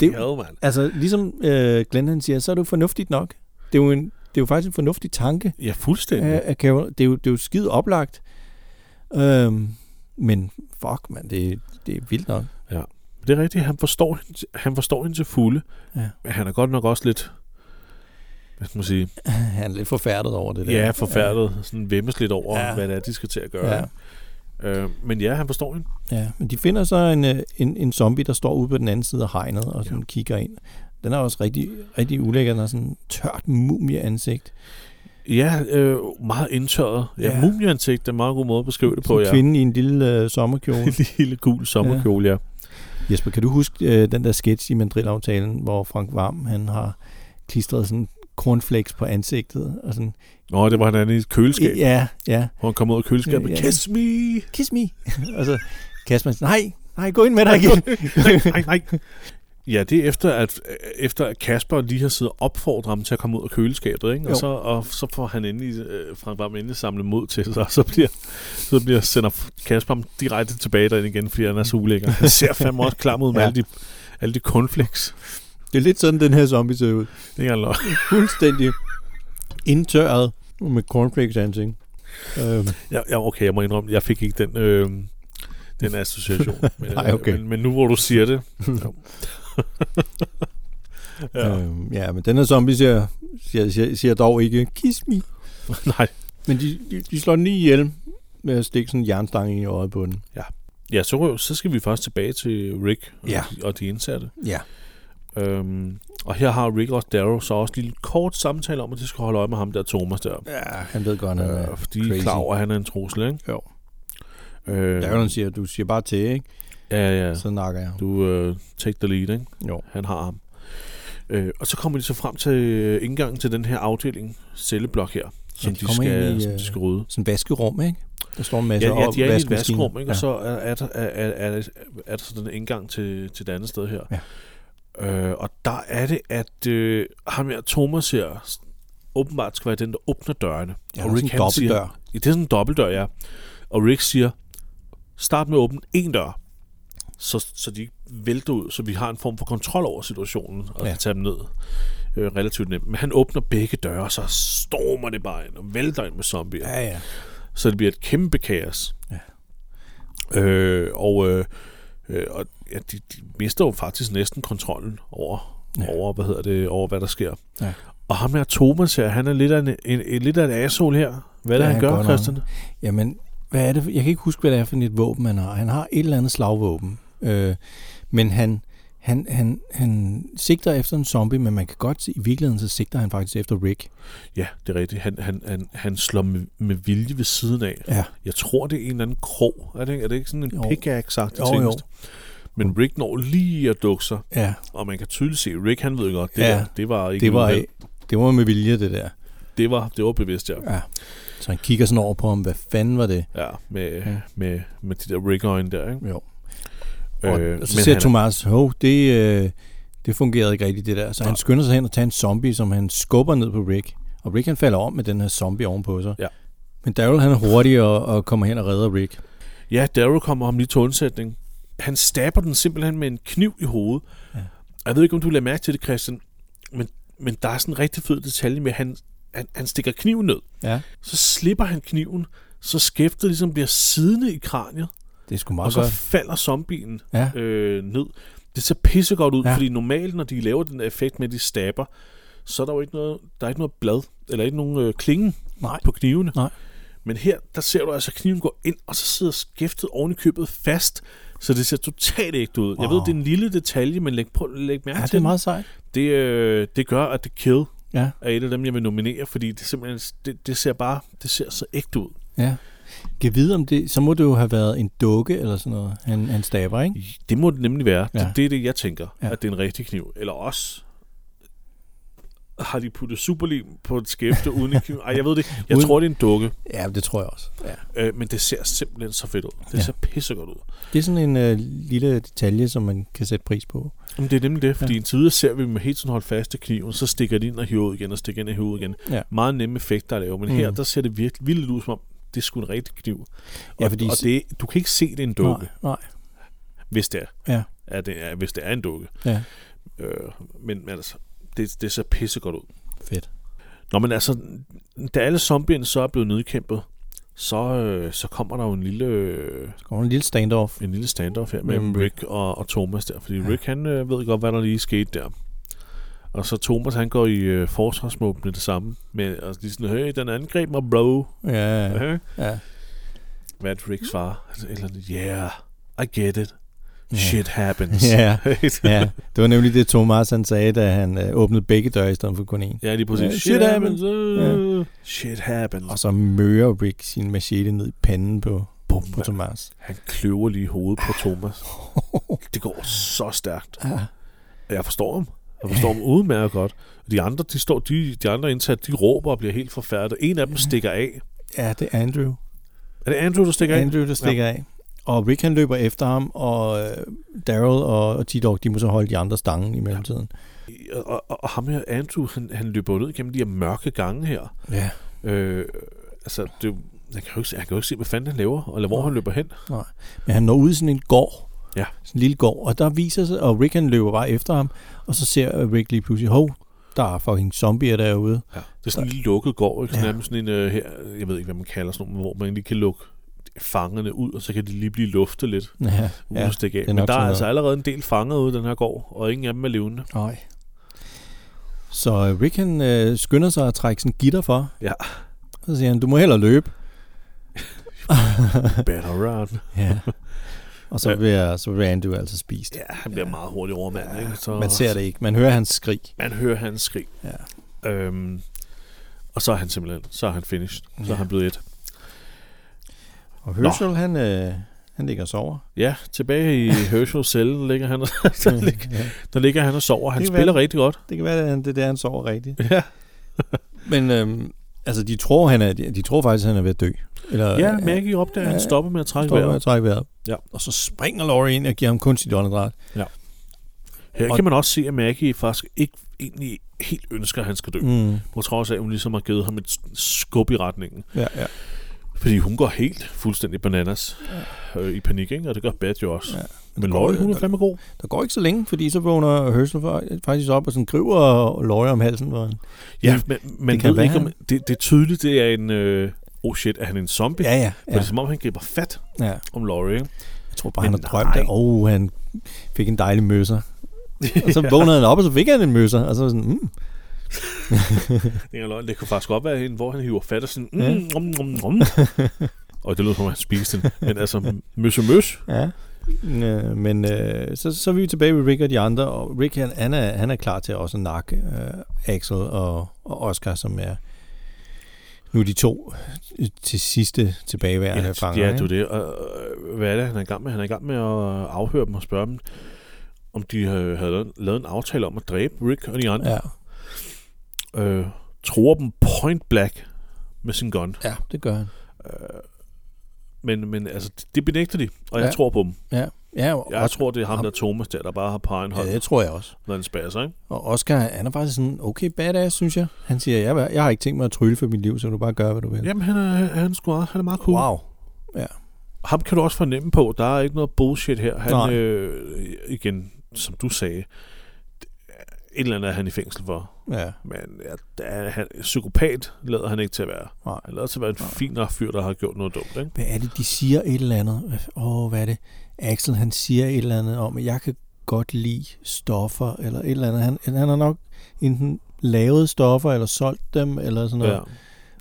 B: Det, er jo-
A: Hell, mand.
B: Altså, ligesom øh, Glenn han siger, så er det jo fornuftigt nok. Det er jo, en, det er jo faktisk en fornuftig tanke
A: Ja,
B: af,
A: fuldstændig.
B: af Carol. Det er jo, det er jo skide oplagt. Øhm, men fuck, man, det, det er vildt nok. [LAUGHS]
A: Det er rigtigt, han forstår, hende- han forstår hende til fulde,
B: Ja.
A: men han er godt nok også lidt, hvad skal man sige,
B: Han er lidt forfærdet over det der.
A: ja, forfærdet, sådan vemmes lidt over,
B: Ja.
A: hvad det er, de skal til at gøre.
B: Ja.
A: Ja. Øh, men ja, han forstår hende.
B: Ja, men de finder så en, øh, en, en zombie, der står ude på den anden side af hegnet og sådan
A: Ja.
B: ja. kigger ind. Den er også rigtig, rigtig ulækker. Den har sådan tørt mumieansigt.
A: Ja, øh, meget indtørret. Ja, ja.
B: Ja.
A: mumieansigt er en meget god måde at beskrive det på,
B: Sådan en
A: ja.
B: kvinde i en lille øh, sommerkjole.
A: [LAUGHS] En lille gul sommerkjole, ja.
B: Jesper, kan du huske øh, den der sketch i mandrilaftalen, hvor Frank Varm han har klistret sådan cornflakes på ansigtet? Og sådan,
A: Nå, det var han inde i et køleskab, ja.
B: ja, ja.
A: hvor han kom ud af køleskabet.
B: Ja.
A: Kiss me!
B: Kiss me. [LAUGHS] og så Kasper, nej, nej, gå ind med dig igen.
A: Nej, nej. Ja, det er efter, at, efter at Kasper lige har siddet og opfordret ham til at komme ud af køleskabet, ikke? Og,
B: Jo.
A: så, og så får han endelig, øh, Frank Varm endelig samlet mod til sig, og så bliver, så bliver sender Kasper ham direkte tilbage derind igen, fordi han er så ulækker. Han ser fandme også klam ud med ja.
B: Ja.
A: alle de, alle de cornflakes.
B: [LAUGHS] det er lidt sådan, den her zombie ser ud.
A: Det er ikke engang løgn.
B: Fuldstændig indtørret med cornflakes ansigt. Øhm,
A: Ja, ja, okay, jeg må indrømme, jeg fik ikke den, øh, den association. Men, øh,
B: Nej, okay.
A: men, men nu hvor du siger det... jo. ja, øh.
B: øhm, ja, men den her zombie ser, ser, ser, ser dog ikke kiss me.
A: Nej,
B: Men de, de, de slår den lige ihjel med at stikke sådan en jernstang ind i øjet på den.
A: ja så, så skal vi først tilbage til Rick og,
B: Ja.
A: og de indsatte.
B: Ja.
A: Øhm, og her har Rick og Darrow så også lige en kort samtale om, at de skal holde øje med ham der Thomas der.
B: Ja, han ved godt, han
A: Øh,
B: er.
A: fordi de er
B: crazy.
A: klar over, at han er en trussel, ikke?
B: Jo.
A: Øh,
B: Der er jo, han siger, du siger bare til, ikke?
A: ja, ja.
B: Så nakker jeg.
A: Du øh, take the lead, ikke?
B: Jo.
A: Han har ham. Øh, og så kommer de så frem til øh, indgangen til den her afdeling, celleblok her, som,
B: de
A: de,
B: kommer
A: skal,
B: ind i,
A: som de
B: øh,
A: skal rydde.
B: Sådan en vaskerum, ikke? Der står en masse
A: Ja, ja, de er i et
B: opvaskemaskiner.
A: vaskerum, ikke? og så er, er, der, er, er, er, er der så den indgang til, til det andet sted her. Øh, og der er det, at øh, ham her, Thomas her, s- åbenbart skal være den, der åbner dørene.
B: Ja, og Rick
A: han
B: sådan en dobbeltdør.
A: Siger, Ja, det er sådan en dobbeltdør, ja. Og Rick siger, start med at åbne én dør, så, så de ikke vælter ud, så vi har en form for kontrol over situationen, og
B: Ja.
A: ja. kan tage dem ned øh, relativt nemt. Men han åbner begge døre, og så stormer det bare ind, og vælter ind med zombier.
B: Ja, ja.
A: Så det bliver et kæmpe kaos. Ja. Øh, og øh, øh, og ja, de, de mister jo faktisk næsten kontrollen over, ja.
B: Ja.
A: over, hvad hedder det, over hvad der sker.
B: Ja.
A: Og ham her Thomas her, han er lidt af en, en, en, lidt af en asshole her. Hvad er det,
B: Ja,
A: han,
B: han
A: gør,
B: gør nok.
A: Christian?
B: Jamen, hvad er det? for- Jeg kan ikke huske, hvad det er for et våben, han har. Han har et eller andet slagvåben. Øh, men han, han, han, han sigter efter en zombie, men man kan godt se, i virkeligheden så sigter han faktisk efter Rick.
A: Ja, det er rigtigt. Han, han, han, han slår med, med vilje ved siden af.
B: Ja.
A: Jeg tror, det er en eller anden krog. Er det, ikke- er det ikke sådan en
B: Jo.
A: pickaxe-agtig
B: Jo,
A: ting?
B: jo.
A: Men Rick når lige at dukke sig,
B: Ja,
A: og man kan tydeligt se, Rick han ved godt, det,
B: Ja,
A: der, det var ikke
B: det var,
A: uheld.
B: det var med vilje, det der.
A: det var, det var bevidst, ja.
B: Ja. Så han kigger sådan over på ham, hvad fanden var det?
A: Ja, med, ja.
B: Ja.
A: med, med de der rick øjne der, ikke?
B: Jo.
A: Øh,
B: Og,
A: men
B: og så ser
A: han er-
B: Thomas, hov, det, øh, det fungerede ikke rigtigt det der. Så
A: Nej.
B: han skynder sig hen og tager en zombie, som han skubber ned på Rick. Og Rick han falder om med den her zombie ovenpå sig.
A: Ja.
B: Men Daryl han er hurtig og, og kommer hen og redder Rick.
A: Ja, Daryl kommer ham lige til undsætning. Han stabber den simpelthen med en kniv i hovedet. Ja.
B: Ja.
A: Jeg ved ikke, om du lader mærke til det, Christian, men, men der er sådan en rigtig fed detalje med, at han, han, han stikker kniven ned.
B: Ja.
A: Så slipper han kniven, så skæftet ligesom bliver siddende i kraniet,
B: Det er sgu
A: og
B: meget
A: så
B: godt.
A: falder zombien
B: Ja.
A: øh, ned. Det ser pissegodt ud, ja.
B: Ja.
A: fordi normalt, når de laver den der effekt med, at de stabber, så er der jo ikke noget, der er ikke noget blad, eller ikke nogen øh, klinge
B: Nej.
A: på knivene.
B: Nej.
A: Men her, der ser du altså, at kniven går ind, og så sidder skæftet oven i købet fast, så det ser totalt ægte ud. Wow. Jeg ved,
B: Wow.
A: det er en lille detalje, men læg, på, læg mærke
B: Ja, det
A: til
B: er
A: den.
B: meget sejt.
A: det, øh, det gør, at The Kill
B: Ja.
A: er et af dem, jeg vil nominere, fordi det simpelthen det, det ser bare det ser så ægte ud.
B: Ja. Kan vide om det, så må det jo have været en dukke eller sådan noget, han, han staber, ikke?
A: Det må det nemlig være. Ja.
B: Ja.
A: Det, det er det, jeg tænker, ja.
B: Ja.
A: at det er en rigtig kniv. Eller også har de puttet superlim på et skæfte uden en kniv. Ej, jeg ved det. ikke. Jeg
B: Uden-
A: tror, det er en dukke,
B: Ja, det tror jeg også. Ja.
A: øh, men det ser simpelthen så fedt ud. Det ja.
B: Ja.
A: ser pissegodt ud.
B: Det er sådan en øh, lille detalje, som man kan sætte pris på.
A: Jamen, det er nemlig det, fordi ja. indtil videre ser vi dem hele tiden holde fast i kniven, så stikker de ind og hiver ud igen, og stikker ind og hiver ud igen.
B: Ja.
A: Meget nemme effekter at lave, men mm.
B: Mm.
A: her, der ser det virkelig vildt ud, som om det er sgu en rigtig kniv. Og,
B: Ja, fordi-
A: og det, du kan ikke se, det er en dukke,
B: Nej, nej.
A: hvis det er.
B: Ja.
A: Er det er, hvis det er en dukke.
B: Ja,
A: Øh, men altså, det, det ser pissegodt ud.
B: fedt.
A: Nå, men altså, da alle zombierne så er blevet nedkæmpet, så, øh, så kommer der jo en lille, øh,
B: Så kommer en lille standoff.
A: en lille standoff her mellem
B: Mellem
A: Rick og, og Thomas der. Fordi Rick, han øh, ved godt, hvad der lige skete der. Og så Thomas, han går i øh, forsvarsmål med det samme. Med, og lige sådan, hey, den angreb mig, bro.
B: Ja, ja,
A: Ja.
B: ja.
A: Matt Ricks far. Altså, et Eller andet, yeah, I get it. Shit happens.
B: Ja, ja, det var nemlig det Thomas han sagde, da han øh, åbnede begge døre i stedet for kun en.
A: [LAUGHS] ja, lige præcis.
B: Ja,
A: shit,
B: shit
A: happens.
B: happens.
A: øh, Shit happens.
B: Og så mører Rick sin machete ned i panden på,
A: Bum,
B: på Thomas.
A: han kløver lige hovedet på Thomas. Det går så stærkt.
B: [LAUGHS] Ja.
A: Og Jeg forstår ham. Jeg forstår ham udmærket godt. De andre, de, står, de, de andre indsatte, de råber og bliver helt forfærdet. En af dem stikker af.
B: ja, det er Andrew.
A: Er det Andrew, der stikker af?
B: Andrew, der stikker af. Og Rick han løber efter ham, og øh, Daryl og, og T-Dog, de må så holde de andre stangen i mellemtiden.
A: Og, og, og ham her, Andrew, han, han løber jo ned gennem de her mørke gange her.
B: Ja.
A: Øh, altså, det, er jo- jeg, kan jo ikke, se- jeg kan jo ikke se, hvad fanden han laver, eller hvor han løber hen.
B: Men han når ud i sådan en gård.
A: Ja.
B: Sådan en lille gård. Og der viser sig, og Rick han løber bare efter ham, og så ser Rick lige pludselig, hov, der er fucking zombier derude.
A: Ja. Det er sådan en lille lukket gård, ikke? Sådan,
B: Ja.
A: ja. sådan en, øh, her, jeg ved ikke, hvad man kalder sådan noget, hvor man lige kan lukke fangerne ud, og så kan de lige blive luftet lidt.
B: Ja,
A: Ja,
B: ja.
A: af.
B: det er
A: Men
B: nok
A: der er
B: sådan
A: altså
B: noget.
A: allerede en del fanger ude i den her gård, og ingen af dem er
B: [LAUGHS]
A: levende.
B: [LAUGHS] Nej. Så øh, Rick han øh, skynder sig at trække sådan en gitter for.
A: Ja.
B: Og så siger han, du må hellere løbe.
A: Better run.
B: Ja. [LAUGHS] Og så bliver, så bliver Andrew altså spist.
A: Ja, han bliver meget hurtigt overmandet. Ikke? Så
B: Man ser det ikke. Man hører hans skrig.
A: Man hører hans skrig.
B: Ja.
A: Øhm, og så er han simpelthen, så er han finished. Så
B: Ja.
A: er han blevet et.
B: Og Herschel, han, øh, han ligger og [LAUGHS] sover.
A: Ja, tilbage
B: [LAUGHS]
A: i Herschels celle ligger han, og- [LAUGHS] der, ligger,
B: ja.
A: der ligger han og sover. Han
B: Det kan
A: spiller
B: være-
A: rigtig godt.
B: Det kan være, at han- det er der, han sover rigtigt.
A: Ja,
B: Men øhm, altså, de tror, han er, de, de tror faktisk, han er ved at dø. Eller,
A: ja Maggie opdager, at han
B: Ja.
A: stopper med at trække
B: står med at
A: vejret.
B: trække vejret.
A: Ja.
B: Og så springer Laurie ind og giver ham kunstigt åndedræt.
A: Her
B: Og-
A: kan man også se, at Maggie faktisk ikke egentlig helt ønsker, at han skal dø.
B: Mm.
A: På trods af, at hun ligesom har givet ham et skub i retningen.
B: Ja, ja.
A: Fordi hun går helt fuldstændig bananas øh, i panik, ikke? og det gør Bad jo også.
B: Ja.
A: Ja. Men Laurie, hun er fandme god.
B: Der går ikke så længe, fordi så vågner Herschel fa- faktisk op og sådan griber Laurie om halsen. Hvor han,
A: Ja, men man
B: kan
A: det ved
B: være,
A: ikke, om,
B: han-
A: det, det er tydeligt, det er en... Øh, oh shit, er han en zombie?
B: ja, ja.
A: For det
B: ja,
A: er som om, han griber fat
B: ja.
A: om Laurie. ikke?
B: Jeg tror bare,
A: Men
B: han har drømt,
A: nej.
B: at oh, han fik en dejlig [LAUGHS] møsser. Og så vågnede han op, og så fik han en møsser. Og så var sådan, mm,
A: Det er løgn. Det kunne faktisk godt være en, hvor han hiver fat og sådan... Mm,
B: Ja.
A: mm, mm,
B: [LAUGHS]
A: mm. Og det lyder som, om han spiste den. Men altså, møs og møs.
B: Ja. Øh, men øh, så, så er vi jo tilbage ved Rick og de andre, og Rick han, han, er, han er klar til også at nakke øh, Axel og, og Oscar, som er nu de to øh, til sidste tilbageværende
A: Ja,
B: fanger.
A: ja,
B: ikke?
A: det er jo det. Og, øh, hvad er det, han er i gang med? Han er i gang med at afhøre dem og spørge dem, om de øh, havde lavet- lavet en aftale om at dræbe Rick og de andre.
B: Ja,
A: Ja. Øh, tror dem point black med sin gun.
B: ja, det gør han.
A: Øh, men, men altså, det- det benægter de, og jeg
B: Ja.
A: tror på dem.
B: Ja, ja og
A: Jeg tror, det er ham,
B: ham-
A: der Thomas der, der bare har på egen hånd
B: ja,
A: ja,
B: det tror jeg også.
A: været en spasser, ikke?
B: Og Oscar, han er faktisk sådan, okay badass, synes jeg. Han siger, jeg, jeg har ikke tænkt mig at trylle for mit liv, så du bare gør, hvad du vil.
A: Jamen, han er, han, er sgu, han er meget cool. Wow.
B: Wow.
A: Ham kan du også fornemme på, der er ikke noget bullshit her. Han,
B: Nej.
A: øh, igen, som du sagde, d- et eller andet er han i fængsel for.
B: Ja,
A: Men ja, der er, han, psykopat lader han ikke til at være.
B: nej.
A: Han lader til at være en
B: Nej.
A: fin nok fyr, der har gjort noget dumt, ikke?
B: hvad er det, de siger et eller andet? Hvad f- Åh, hvad er det? Axel, han siger et eller andet om, at jeg kan godt lide stoffer, eller et eller andet. Han, han har nok enten lavet stoffer, eller solgt dem, eller sådan noget. Ja.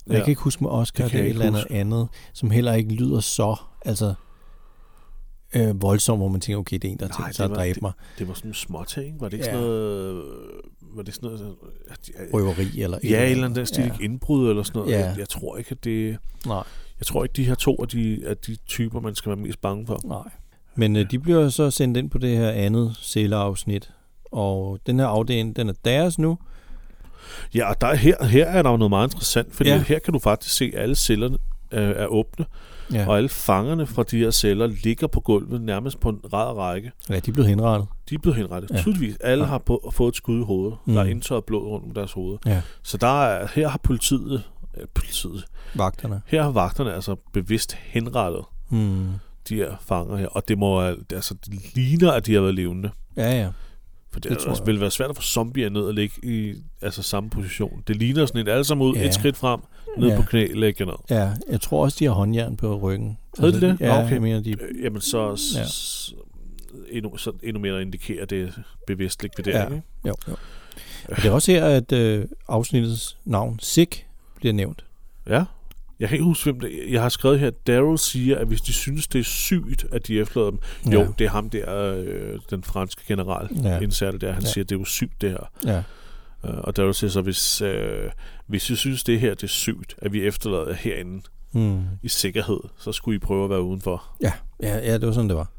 B: Jeg
A: ja.
B: kan ikke huske med Oscar,
A: Det
B: det,
A: kan
B: det er et
A: jeg
B: eller
A: ikke
B: andet andet, som heller ikke lyder så, altså øh, voldsomt, hvor man tænker, okay, det er en, der har
A: Nej,
B: tænkt
A: det
B: sig at
A: var-
B: dræbe mig.
A: Det var sådan nogle små ting. Var det ikke
B: Ja.
A: sådan noget... øh, Var det sådan noget... at- at-
B: Røveri, eller et
A: Ja, et eller andet den stil,
B: Ja.
A: ja. indbrud eller sådan noget.
B: Ja.
A: Ja. Jeg, jeg tror ikke, at det...
B: Nej.
A: Jeg tror ikke, de her to er de, er de typer, man skal være mest bange for.
B: Nej. Men øh, de bliver så sendt ind på det her andet celleafsnit, og den her afdeling, den er deres nu,
A: Ja, og der, her, her er der jo noget meget interessant, fordi
B: Ja.
A: ja. her kan du faktisk se, at alle cellerne øh, er åbne,
B: Ja.
A: ja. og alle fangerne fra de her celler ligger på gulvet nærmest på en rad række.
B: Ja, de blev henrettet.
A: De er blevet henrettet.
B: Ja.
A: Ja. Tydeligvis. Alle
B: Ja.
A: har på, fået et skud i hovedet. Mm. Der er
B: Mm.
A: indtørret blod rundt om deres hoved.
B: Ja.
A: Så der er, her har politiet, øh, politiet,
B: Vagterne.
A: her har vagterne altså bevidst henrettet
B: Mm.
A: de her fanger her, og det må al- altså, det ligner, at de har været levende.
B: Ja, ja.
A: For det,
B: Det
A: det
B: tror
A: altså,
B: jeg.
A: vil være svært at få zombier ned og ligge i altså, samme position. Det ligner sådan et alle sammen ud,
B: Ja.
A: ja. et skridt frem, ned
B: Ja.
A: ja. på knæ, lægge ned.
B: Ja, jeg tror også, de har håndjern på ryggen. Altså,
A: Havde de det?
B: Ja,
A: Nå, okay.
B: jeg mener, de...
A: Øh, Jamen så, s-
B: Ja.
A: s- endnu, så endnu mere indikerer det bevidst likvidering.
B: Ja.
A: Ja.
B: Jo, jo. Og det er også her, at øh, afsnittets navn, Sig, bliver nævnt.
A: ja. Jeg kan ikke huske, hvem det Jeg har skrevet her, Daryl siger, at hvis de synes, det er sygt, at de efterlader dem. Ja. Jo, det er ham der, øh, den franske general, ja.
B: Ja.
A: indsatte der. Han
B: Ja.
A: siger, det er jo sygt, det her.
B: Ja.
A: Øh, og Daryl siger så, hvis, øh, hvis I synes, det her det er sygt, at vi efterlader jer herinde
B: Mm.
A: i sikkerhed, så skulle I prøve at være udenfor.
B: Ja. ja, ja, det var sådan, det
A: [LAUGHS]
B: var.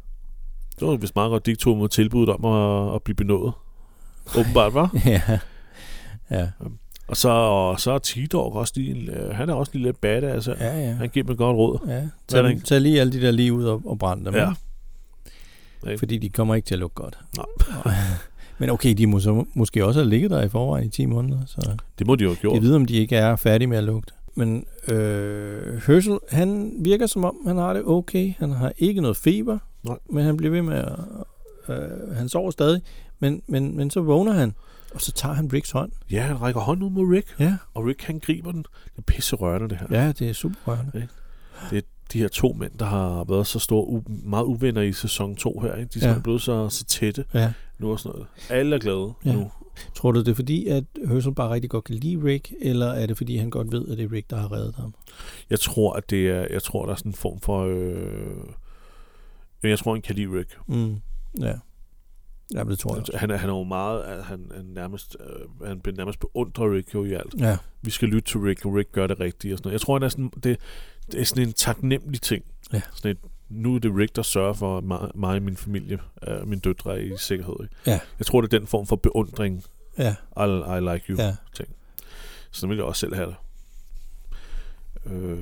A: Det var vist meget godt, de ikke tog mod tilbuddet om at, at blive benået. Åbenbart,
B: [LAUGHS]
A: var.
B: ja. Ja,
A: Og så, og så er T-Dog også lige, en- øh, han er også lige lidt badass. Altså. Ja.
B: ja. ja.
A: Han giver mig godt råd.
B: ja.
A: er der
B: Tag,
A: ikke?
B: tag lige alle de der lige ud og, og brænd dem.
A: Ja.
B: ikke?
A: Ikke?
B: Fordi de kommer ikke til at lukke godt.
A: Nej.
B: [LAUGHS] Men okay, de må så måske også have ligget der i forvejen i 10 måneder, så
A: Det må de jo have
B: jeg
A: gjort.
B: ved, om de ikke er færdige med at lugte. Men øh, Herschel, han virker som om, han har det okay. Han har ikke noget feber,
A: Nej.
B: men han bliver ved med at... Øh, han sover stadig, men, men, men så vågner han, og så tager han Ricks hånd.
A: Ja, han rækker hånden ud mod Rick,
B: Ja,
A: og Rick han griber den. Det er pisserørende, det her.
B: ja det er super rørende.
A: De her to mænd, der har været så store, u- meget uvenner i sæson 2 her, ikke? de er ja.
B: Ja.
A: blevet så, så tætte
B: Ja.
A: nu og sådan noget. Alle er glade ja.
B: Ja.
A: nu.
B: Tror du, det er fordi, at Herschel bare rigtig godt kan lide Rick, eller er det fordi, han godt ved, at det er Rick, der har reddet ham?
A: Jeg tror, at det er, jeg tror, der er sådan en form for... Øh... Jeg tror, han kan lide Rick.
B: Mm. Ja. Ja, det tror jeg. også.
A: Han er, han er jo meget... at Han, han, nærmest, øh, han bliver nærmest beundrer Rick jo i alt.
B: Ja,
A: vi skal lytte til Rick, og Rick gør det rigtigt og sådan noget. Jeg tror, han er sådan, det, det er sådan en taknemmelig ting.
B: Ja.
A: Sådan et, nu er det Rick, der sørger for at mig, mig og min familie, øh, min døtre er i sikkerhed. Ikke?
B: Ja.
A: Jeg tror, det er den form for beundring,
B: ja,
A: I, I like you.
B: ja.
A: Sådan vil jeg også selv have det. Øh.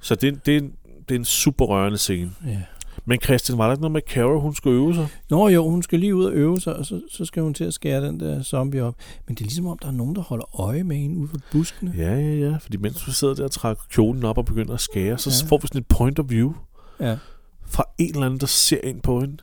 A: Så det, er en- det, er en, det er en super rørende scene.
B: ja.
A: Men Christian, var der ikke noget med at Kara, hun skulle øve sig?
B: Nå jo, hun skal lige ud og øve sig, og så, så skal hun til at skære den der zombie op. Men det er ligesom om, der er nogen, der holder øje med hende ude for buskene.
A: Ja, ja, ja. Fordi mens vi sidder der og trækker kjolen op og begynder at skære, så
B: Ja.
A: ja. får vi sådan et point of view.
B: Ja.
A: fra en eller anden, der ser ind på hende.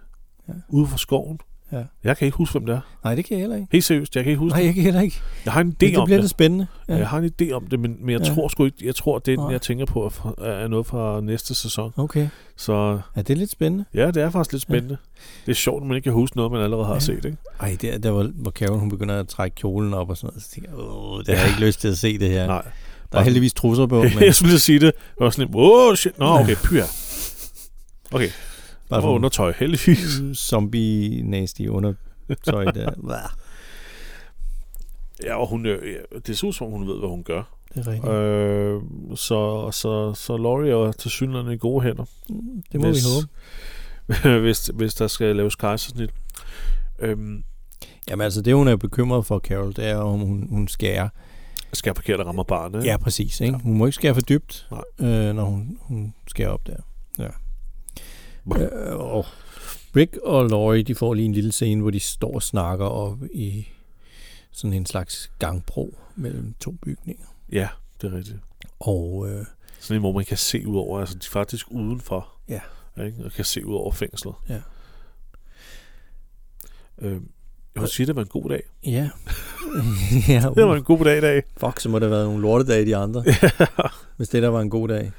A: Ja.
B: Ja.
A: Ude fra skoven.
B: Ja.
A: Jeg kan ikke huske, hvem det er.
B: Nej, det kan jeg heller ikke.
A: Helt seriøst, jeg kan ikke huske
B: Nej,
A: Nej,
B: jeg kan heller ikke.
A: Jeg har en idé
B: Det,
A: det
B: det
A: om
B: bliver
A: det.
B: lidt spændende.
A: Ja. Jeg har en idé om det, men, men jeg ja.
B: Ja.
A: tror sgu ikke, jeg tror, det er den,
B: Nej.
A: jeg tænker på, er fra- er noget fra næste sæson.
B: Okay.
A: Så
B: Ja, det er lidt spændende.
A: ja, det er faktisk lidt spændende. Ja. Det er sjovt, at man ikke kan huske noget, man allerede har ja.
B: Ja.
A: set. Ikke?
B: Ej, det er der, hvor, hvor Karen, hun begynder at trække kjolen op og sådan noget. Så tænker jeg, åh, det har jeg ikke lyst til at se det her.
A: Ja. Nej.
B: Der er heldigvis trusser [LAUGHS] på, men
A: [LAUGHS] jeg skulle lige sige det. Jeg var sådan lidt, åh, shit. Nå, okay, pyr. Okay, der
B: bare
A: var
B: sådan
A: undertøj, heldigvis.
B: zombie-nasty undertøj der. Blah.
A: Ja, og hun, øh, ja, det ser ud som, om hun ved, hvad hun gør.
B: [LAUGHS] det er rigtigt.
A: Øh, så, så, så Laurie er til synligheden i gode hænder. [LAUGHS]
B: Det må vi
A: hvis-
B: håbe.
A: hvis, hvis der skal laves kejsersnit. Øhm,
B: Jamen altså, det hun er bekymret for, Carol, det er, om hun, hun skærer.
A: skal jeg parkere, der rammer barnet?
B: Ja, præcis. Ikke? Hun må ikke skære for dybt,
A: Nej.
B: øh, når hun, hun skærer op der. Ja. Øh, og Rick og Laurie, de får lige en lille scene, hvor de står og snakker op i sådan en slags gangbro mellem to bygninger.
A: ja, det er rigtigt.
B: Og øh,
A: Sådan en, hvor man kan se ud over, altså de er faktisk udenfor.
B: Ja.
A: Ikke? Og kan se ud over fængslet.
B: Ja.
A: Øhm, jeg vil sige, det var en god dag.
B: [LAUGHS] ja. ja,
A: Det var
B: uh,
A: en god dag i dag.
B: fuck, så må det have været nogle lortedage, de [LAUGHS] andre. Hvis det der var en god dag.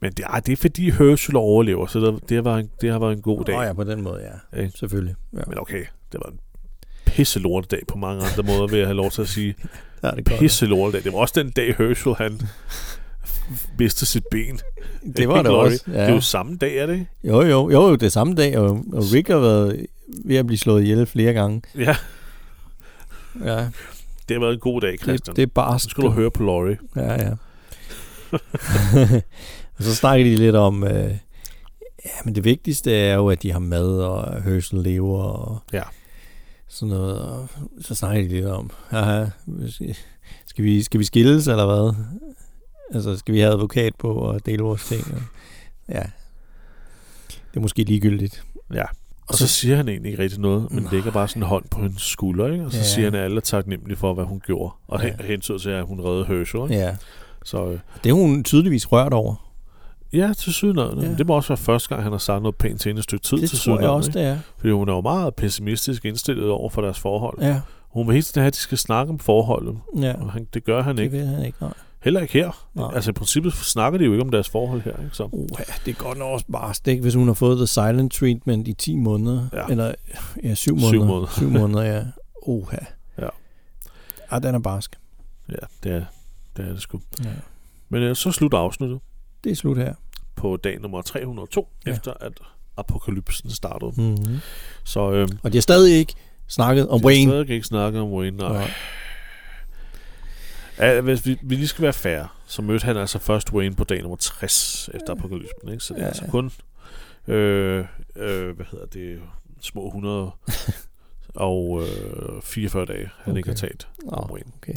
A: Men det, ej, det er fordi Herschel overlever, så der, det, var en, det har været en god dag.
B: Nå ja, på den måde, ja.
A: Ikke?
B: Selvfølgelig. Ja.
A: Men okay, det var en pisse dag på mange andre måder, vil jeg have lov til at sige.
B: Der er det godt.
A: Pisse dag. Det var også den dag, Herschel han mistede sit ben.
B: Det var
A: Ikke,
B: det
A: Laurie?
B: også.
A: Ja. Det er jo samme dag, er det ikke?
B: Jo, jo, jo, det er samme dag, og, og Rick har været ved at blive slået ihjel flere gange.
A: Ja,
B: Ja,
A: det har været en god dag,
B: det,
A: Christian.
B: det er bare...
A: nu skal du høre på Laurie.
B: Ja, ja. [LAUGHS] og så snakker de lidt om... Øh, ja, men det vigtigste er jo, at de har mad, og at Herschel lever, og
A: Ja.
B: sådan noget. Og så snakker de lidt om, haha, skal vi, skal vi skilles, eller hvad? Altså, skal vi have advokat på og dele vores ting? Og, ja. Det er måske ligegyldigt.
A: Ja. Og
B: Og
A: så
B: så-
A: siger han egentlig ikke rigtig noget, men
B: Nej.
A: lægger bare sådan en hånd på hendes skulder, ikke? og så ja.
B: Ja.
A: siger han, at alle er taknemmelige for, hvad hun gjorde, og
B: Ja.
A: ja. hensyn til, at hun reddede Herschel. Ikke? Ja.
B: Ja.
A: Så øh,
B: Det er hun tydeligvis rørt over.
A: ja, til sydenødende. Ja.
B: Ja.
A: Det må også være første gang, han har sagt noget pænt til hende et stykke tid
B: Det
A: til
B: tror jeg også, det er.
A: Fordi hun er jo meget pessimistisk indstillet over for deres forhold.
B: Ja,
A: Hun vil helt tiden have, at de skal snakke om forholdet,
B: ja.
A: og han, det gør han
B: Det
A: ikke.
B: vil han ikke. Nej.
A: Heller ikke her.
B: Nej.
A: Altså i princippet snakker de jo ikke om deres forhold her. Ikke? Så,
B: Uh, det er godt nok også bare stik, hvis hun har fået The Silent Treatment i 10 måneder.
A: Ja.
B: Eller ja, 7
A: Syv
B: måneder.
A: måneder.
B: 7 måneder, ja. Oha.
A: Ja.
B: Ej, den er barsk.
A: ja, det er det, er det sgu.
B: Ja.
A: Men øh, så slutter afsnittet
B: Det er slut her.
A: på dag nummer 302, ja.
B: Ja.
A: efter at apokalypsen startede.
B: Mm-hmm.
A: Så øh,
B: Og de har stadig ikke snakket om
A: Jeg
B: Wayne.
A: stadig ikke snakke om Wayne. Nej.
B: Nej.
A: Ja, hvis vi, vi lige skal være færre, så mødte han altså først Wayne på dag nummer 60 efter apokalypsen, ikke? Så det er ja,
B: Ja,
A: altså
B: ja.
A: kun, øh, øh, hvad hedder det, små 100 og øh, 44 dage, han okay. ikke har
B: Okay.
A: talt om
B: Nå,
A: Wayne.
B: okay.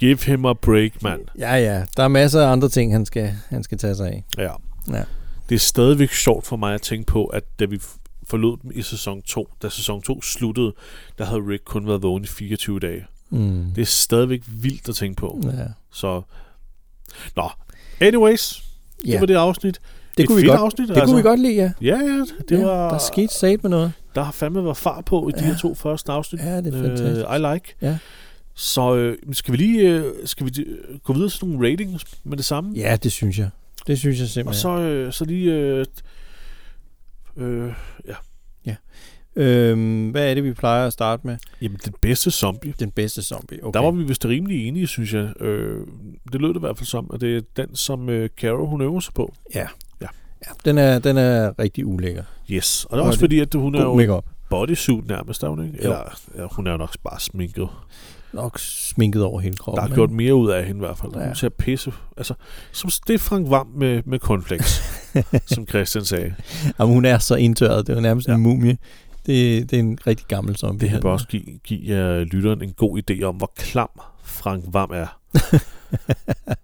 A: Give him a break, mand.
B: Ja, ja. Der er masser af andre ting, han skal, han skal tage sig af.
A: Ja.
B: Ja.
A: Det er stadigvæk sjovt for mig at tænke på, at da vi f- forlod dem i sæson 2, da sæson 2 sluttede, der havde Rick kun været vågen i 24 dage.
B: Mm.
A: Det er stadigvæk vildt at tænke på.
B: ja.
A: Så, nå. Anyways, ja.
B: ja.
A: det var det afsnit.
B: det,
A: Et
B: kunne vi
A: fedt
B: godt,
A: afsnit, altså.
B: det kunne vi godt lide, ja.
A: Ja, ja, det
B: ja,
A: var...
B: Der skete sat med noget.
A: Der har fandme været far på i de
B: Ja.
A: her to første afsnit.
B: Ja, det er fantastisk.
A: Øh, I like.
B: Ja.
A: Så øh, skal vi lige øh, skal vi øh, gå videre til nogle ratings med det samme?
B: Ja, det synes jeg. Det synes jeg
A: Og
B: simpelthen.
A: så, øh, så lige... Øh, øh,
B: øhm, hvad er det, vi plejer at starte med?
A: jamen, den bedste zombie.
B: Den bedste zombie. Okay.
A: Okay. Der var vi vist rimelig enige, synes jeg. Øh, det lød det i hvert fald som, at det er den, som øh, Caro hun øver sig på.
B: ja, den, er, den er rigtig ulækker.
A: Yes, og det er
B: Og
A: også
B: det-
A: fordi, at hun er
B: God
A: jo
B: makeup.
A: bodysuit nærmest, er hun ikke?
B: Jo.
A: Eller ja, hun er jo nok bare sminket.
B: Nok sminket over hele kroppen.
A: Der er
B: ikke?
A: gjort mere ud af hende i hvert fald. Ja. Hun
B: Ja.
A: ser pisse. Altså, som det er Frank Vam med, med [LAUGHS] cornflakes, som Christian sagde.
B: Jamen, hun er så indtørret. Det er jo nærmest
A: Ja.
B: ja. en mumie. Det, det er en rigtig gammel zombie.
A: Det her
B: han
A: bør
B: er.
A: også give, give uh, lytteren en god idé om, hvor klam Frank Vam [LAUGHS] er.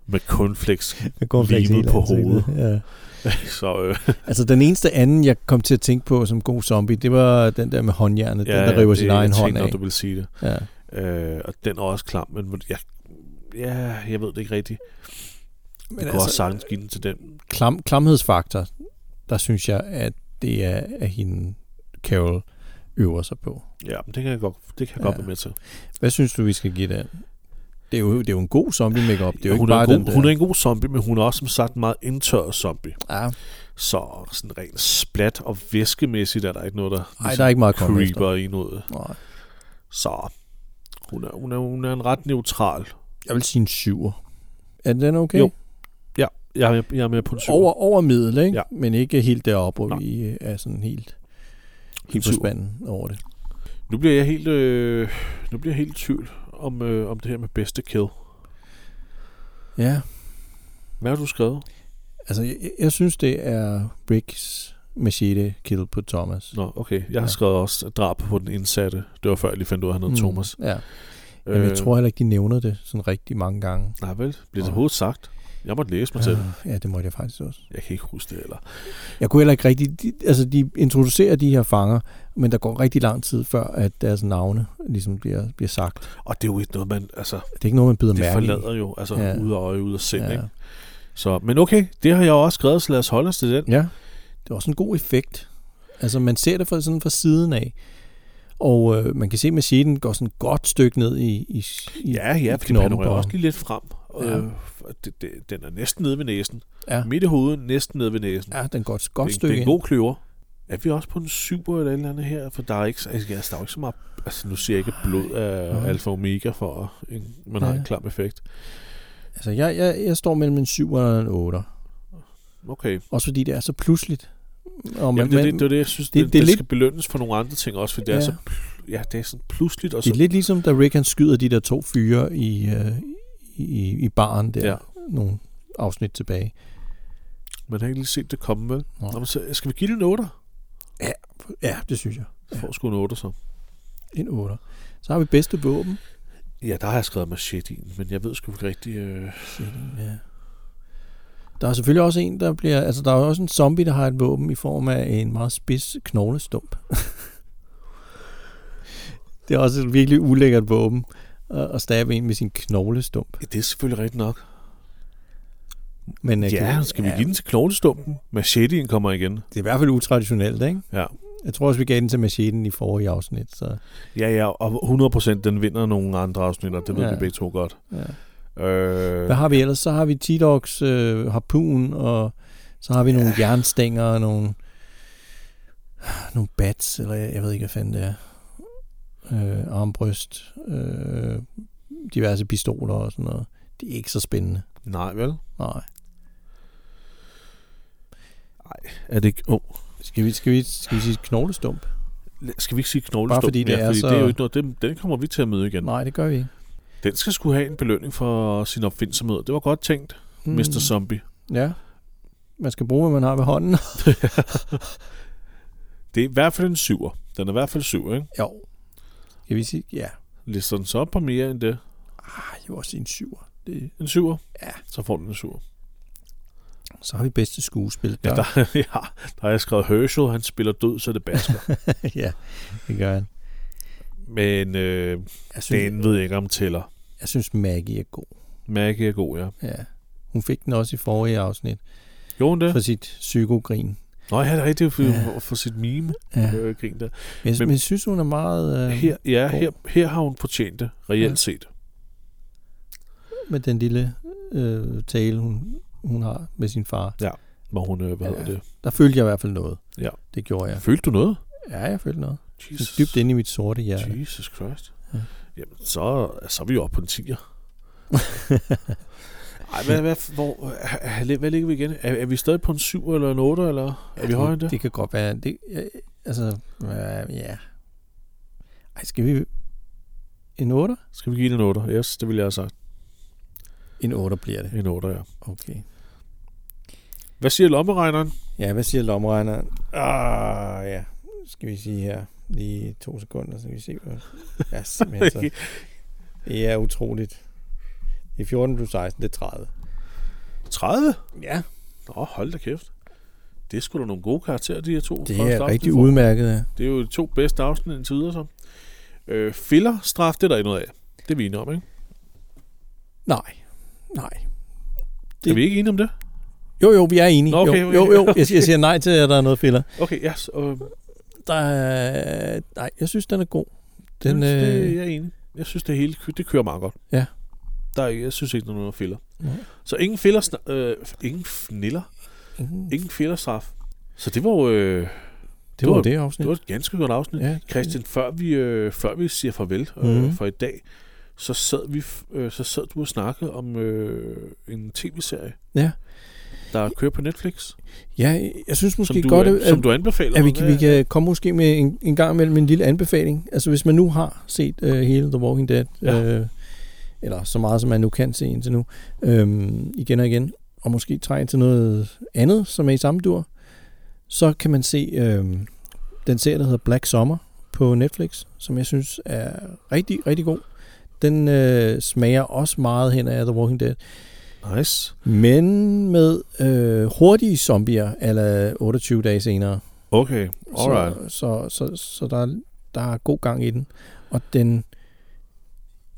A: med cornflakes.
B: Med cornflakes i
A: limet
B: hele
A: på
B: ansigtet. Ja.
A: Så øh,
B: Altså den eneste anden, jeg kom til at tænke på som god zombie, det var den der med håndjernet, ja, den der river
A: det-
B: sin egen
A: jeg
B: hånd
A: tænkte
B: af.
A: nok, du vil sige det.
B: Ja.
A: Øh, og den er også klam, men jeg, ja, jeg ved det ikke rigtigt. Men
B: Men
A: du altså, kunne også
B: altså,
A: sagtens give den til den.
B: klam, klamhedsfaktor, der synes jeg, at det er at hende Carol øver sig på.
A: Ja, men det kan jeg godt, det kan jeg ja. godt
B: Ja.
A: være med til.
B: Hvad synes du, vi skal give den? Det er jo, det er jo en god zombie makeup. Det er jo
A: hun,
B: ikke bare
A: er en
B: den
A: god,
B: der.
A: hun er en god zombie, men hun er også som sagt en meget indtørret zombie.
B: ja,
A: Så sådan rent splat og væskemæssigt er der ikke noget, der ligesom
B: ej, der er ikke meget at komme efter.
A: creeper i noget.
B: Nej.
A: Så hun er, hun er, hun er en ret neutral.
B: Jeg vil sige en syver. Er den okay?
A: Jo, Jeg er, jeg er med på en syver.
B: Over, over middel, ikke?
A: Ja.
B: Men ikke helt deroppe, hvor
A: Nej.
B: vi øh, er sådan helt,
A: En
B: helt på
A: syver.
B: spanden over det.
A: Nu bliver jeg helt, øh, nu bliver jeg helt i tvivl om, øh, om det her med bedste kill.
B: Ja,
A: Hvad har du skrevet?
B: altså jeg, jeg- jeg synes, det er Briggs machete kill på Thomas.
A: Nå, okay. Jeg har ja.
B: Ja.
A: skrevet også drab på den indsatte. Det var før, jeg lige fandt ud af, at han hed
B: Mm,
A: Thomas.
B: Ja. Jamen,
A: Øh.
B: jeg tror heller ikke, de nævner det sådan rigtig mange gange.
A: Nej, vel? Bliver det
B: Nej.
A: overhovedet sagt? Jeg måtte læse mig ja. til det.
B: Ja, det måtte jeg faktisk også.
A: Jeg kan ikke huske det heller.
B: Jeg kunne heller ikke rigtig... De, altså, de introducerer de her fanger, men der går rigtig lang tid før, at deres navne ligesom bliver, bliver sagt.
A: Og det er jo ikke noget, man... Altså,
B: Det er ikke noget, man bider
A: det
B: mærke i.
A: forlader jo. Altså, ja.
B: Ja.
A: ud af øje, ud af sind, ja.
B: ja.
A: ikke? Så, men okay, det har jeg også skrevet, så lad os holde os til den.
B: ja. Det er også en god effekt. Altså, man ser det fra, sådan fra siden af. Og øh, man kan se, at macheten går sådan et godt stykke ned i, i, i
A: Ja, ja, for det
B: knoppen
A: panorerer
B: på
A: også
B: ham.
A: lige lidt frem. Ja.
B: Ja.
A: Øh, for det, det, den er næsten nede ved næsen.
B: ja.
A: Ja. Midt i hovedet, næsten nede ved næsen.
B: ja den går et
A: det,
B: godt
A: er-
B: stykke
A: det er
B: ind.
A: en god kløver. Er vi også på en super eller et eller andet her? For der er ikke, altså, altså, der er jo ikke så meget... Altså, nu ser jeg ikke blod af
B: Nej.
A: alfa og omega, for at en, man har
B: Ja.
A: en klam effekt.
B: Altså, jeg, jeg, jeg står mellem en 7 og en 8.
A: Okay.
B: Også fordi det er så pludseligt. Og
A: Jamen,
B: man,
A: det, er det,
B: man-
A: det, er det, jeg synes,
B: det-
A: det, det,
B: det er
A: det
B: lidt-
A: skal belønnes for nogle andre ting også, fordi det er
B: Ja.
A: så... pl- Ja, det er sådan pludseligt og
B: Det er
A: så...
B: lidt ligesom, da Rick han skyder de der to fyre i, øh, i, i baren der,
A: Ja.
B: ja. nogle afsnit tilbage.
A: Man har ikke lige set det komme, vel?
B: Nå.
A: Nå, men så, skal vi give det en 8?
B: Ja, det synes jeg.
A: Jeg får sgu en 8 så.
B: En 8. Så har vi bedste våben.
A: Ja, der har jeg skrevet machete i, men jeg ved sgu ikke rigtig... Øh...
B: Ja. Der er selvfølgelig også en, der bliver... Altså, der er også en zombie, der har et våben i form af en meget spids knoglestump. [LAUGHS] det er også et virkelig ulækkert våben at at stabe en med sin knoglestump.
A: Ja, det er selvfølgelig rigtigt nok.
B: Men, øh,
A: Ja,
B: kan-
A: skal vi give den til knoglestumpen? Macheteen kommer igen.
B: Det er i hvert fald utraditionelt, ikke?
A: Ja.
B: Jeg tror også, vi gav den til macheten i forrige afsnit, så...
A: Ja, ja, og 100% den vinder nogle andre afsnit, og det ved ja.
B: Ja.
A: vi begge to godt.
B: Ja.
A: Øh,
B: Hvad har vi ellers? Så har vi T-Dogs øh, harpun, og så har vi nogle jernstænger og nogle, nogle bats, eller jeg, jeg ved ikke, hvad fanden det er. Øh, armbryst, øh, diverse pistoler og sådan noget. det er ikke så spændende.
A: Nej, vel?
B: Nej.
A: Er det ikke... Oh,
B: Skal vi, skal vi, skal vi sige knoglestump?
A: skal vi ikke sige knoglestump?
B: Bare fordi det
A: mere,
B: er
A: fordi
B: så-
A: det er jo ikke noget, den, den kommer vi til at møde igen.
B: Nej, det gør vi ikke.
A: Den skal skulle have en belønning for sin opfindsomhed. Det var godt tænkt, mm. Mr. Zombie.
B: Hmm. Ja. Man skal bruge, hvad man har ved hånden. [LAUGHS]
A: Det er i hvert fald en syver. Den er i hvert fald syv, ikke?
B: jo. Skal vi sige? Ja.
A: Lister den så op på mere end det?
B: Ah, jo også en syver. Det,
A: En syver?
B: Ja.
A: Så får den en syver. [LAUGHS]
B: så har vi bedste skuespil.
A: Ja, der, ja, der har jeg skrevet Herschel, han spiller død, så det basker.
B: [LAUGHS] ja, det gør han.
A: Men øh,
B: Jeg synes,
A: den ved jeg ikke, om tæller.
B: jeg synes Maggie er god.
A: Maggie er god, ja.
B: Ja. Hun fik den også i forrige afsnit
A: Jo, hun det?
B: for sit psykogrin.
A: Nå, ja, det er rigtigt for,
B: Ja.
A: for, for sit mime.
B: Ja.
A: Ja. Øh, grin der.
B: Men, jeg-
A: Men-
B: men jeg synes, hun er meget øh,
A: Her, ja,
B: god.
A: her, her har hun fortjent det, reelt
B: Ja.
A: ja. set.
B: med den lille øh, tale, hun, hun har med sin far.
A: Hvor hun, øh, hvad
B: Ja.
A: ja. hedder det?
B: Der følte jeg i hvert fald noget.
A: Ja.
B: Det gjorde jeg.
A: Følte du noget?
B: Ja, jeg følte noget. Sådan
A: Jesus,
B: Dybt inde i mit sorte hjerte.
A: Jesus Christ.
B: Ja.
A: Ja. Jamen, så, så er vi jo oppe på en 10'er. [LAUGHS] Ej, hvad, hvad, hvor, øh, hvad ligger vi igen? Er, er vi stadig på en 7 eller en 8, eller er vi højere end det?
B: Det kan godt være. Det, øh, altså, øh, ja. Ej, skal vi... En 8?
A: Skal vi give den en 8? Yes, det ville jeg have sagt.
B: En 8 bliver det.
A: En 8, ja.
B: Okay.
A: Hvad siger lommeregneren?
B: Ja, hvad siger lomregneren? Ah, ja. Skal vi sige her. Lige to sekunder, så kan vi se. Hvad... Ja, simpelthen så. [LAUGHS] Det er utroligt. Det er 14 plus 16, det er 30.
A: 30?
B: Ja,
A: Nå, hold da kæft. Det er sgu da nogle gode karakterer, de her to.
B: det
A: første
B: er
A: aften,
B: rigtig
A: vi får.
B: udmærket.
A: Det er jo de to bedste afsnit indtil videre, så. altså. Øh, filler, straf, det er der ikke noget af. Det er vi enige om, ikke?
B: Nej, nej.
A: Det... Er vi ikke enige om det?
B: Jo, jo, vi er enige.
A: Nå, okay,
B: jo, jo,
A: okay.
B: jo, jeg siger, jeg siger nej til, at der er noget filler.
A: Okay, yes, øh,
B: Der er, nej, jeg synes, den er god. Den,
A: den, øh... det,
B: øh,
A: jeg er enig. Jeg synes, det hele kø- det kører meget godt.
B: Ja.
A: Der er, ikke- jeg synes ikke, der er noget filler.
B: Nej.
A: Så ingen filler, sna- øh, ingen fniller,
B: mm,
A: ingen fillerstraf. Så det var jo øh,
B: det var jo
A: var-
B: det
A: det
B: afsnit.
A: var et ganske godt afsnit.
B: Ja,
A: Christian, før vi, øh, før vi siger farvel øh,
B: Mhm.
A: mm. for i dag, så sad, vi, f- øh, så sad du og snakkede om øh, en tv-serie,
B: Ja,
A: der kører på Netflix,
B: ja jeg synes måske
A: som du,
B: godt,
A: an-
B: at,
A: som du anbefaler.
B: at vi,
A: mig.
B: kan- vi kan komme måske med en, en gang imellem en lille anbefaling. Altså hvis man nu har set øh, hele The Walking Dead,
A: Ja.
B: øh, eller så meget som man nu kan se indtil nu, øh, igen og igen, og måske trænge til noget andet, som er i samme dur, så kan man se øh, den serie, der hedder Black Summer på Netflix, som jeg synes er rigtig, rigtig god. Den øh, smager også meget hen af The Walking Dead.
A: Nice.
B: Men med øh, hurtige zombier, eller 28 dage senere.
A: Okay, alright.
B: Så, så, så, så der, er- der er god gang i den. Og den...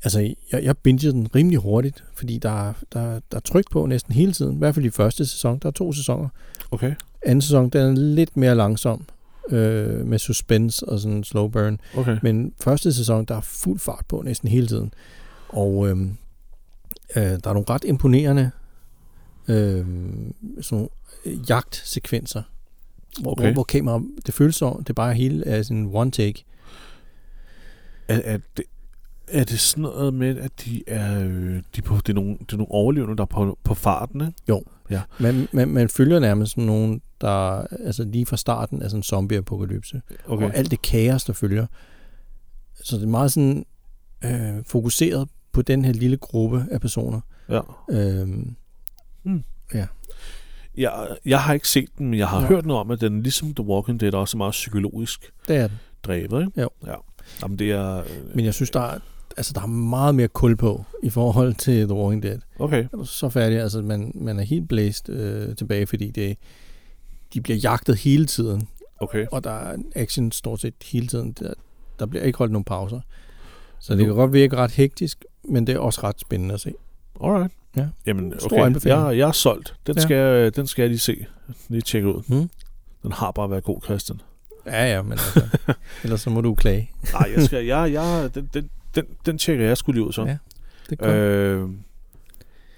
B: Altså, jeg, jeg bingede den rimelig hurtigt, fordi der, er- der, der er tryk på næsten hele tiden. I hvert fald i første sæson. Der er to sæsoner.
A: Okay,
B: Anden sæson, den er lidt mere langsom øh, med suspense og sådan slow burn.
A: okay.
B: Men første sæson, der er fuld fart på næsten hele tiden. Og øh, øh, der er nogle ret imponerende øh, sådan nogle øh, jagtsekvenser. Hvor,
A: Okay.
B: hvor, hvor kamera, det føles som, det bare er hele er sådan en one take.
A: Er, er, det, er det sådan noget med, at de er, øh, de er på, det, er nogle, det er nogle overlevende, der er på, på farten, ikke?
B: Man, man, man følger nærmest sådan nogen, der altså lige fra starten er sådan en zombie-apokalypse. Okay. Og alt det kaos, der følger. Så det er meget sådan øh, fokuseret på den her lille gruppe af personer.
A: Ja.
B: Øh,
A: Jeg, jeg har ikke set den, men jeg har
B: Nå.
A: hørt noget om, at den ligesom The Walking Dead også er meget psykologisk
B: det er den.
A: drevet, ikke?
B: Jo.
A: Ja. Jamen, det er... øh,
B: Men jeg synes, der er, altså, der er meget mere kul på i forhold til The Walking Dead.
A: Okay.
B: Er du så færdig? Altså, man, man er helt blæst øh, tilbage, fordi det, de bliver jagtet hele tiden,
A: Okay.
B: og der er action stort set hele tiden. Der, der bliver ikke holdt nogen pauser. Så det kan godt virke ret hektisk, men det er også ret spændende at se.
A: Alright.
B: Ja.
A: Jamen, okay.
B: Stor anbefaling.
A: Jeg, jeg er solgt. Den, ja.
B: Ja.
A: skal, jeg- den skal jeg lige se. Lige tjekke ud.
B: Mm.
A: Den har bare været god, Christian.
B: Ja, ja, men altså, ellers så må du klage.
A: Nej, jeg skal... jeg, jeg, den, den, den, den tjekker jeg skulle lige ud så.
B: Ja, Det er godt.
A: Øh,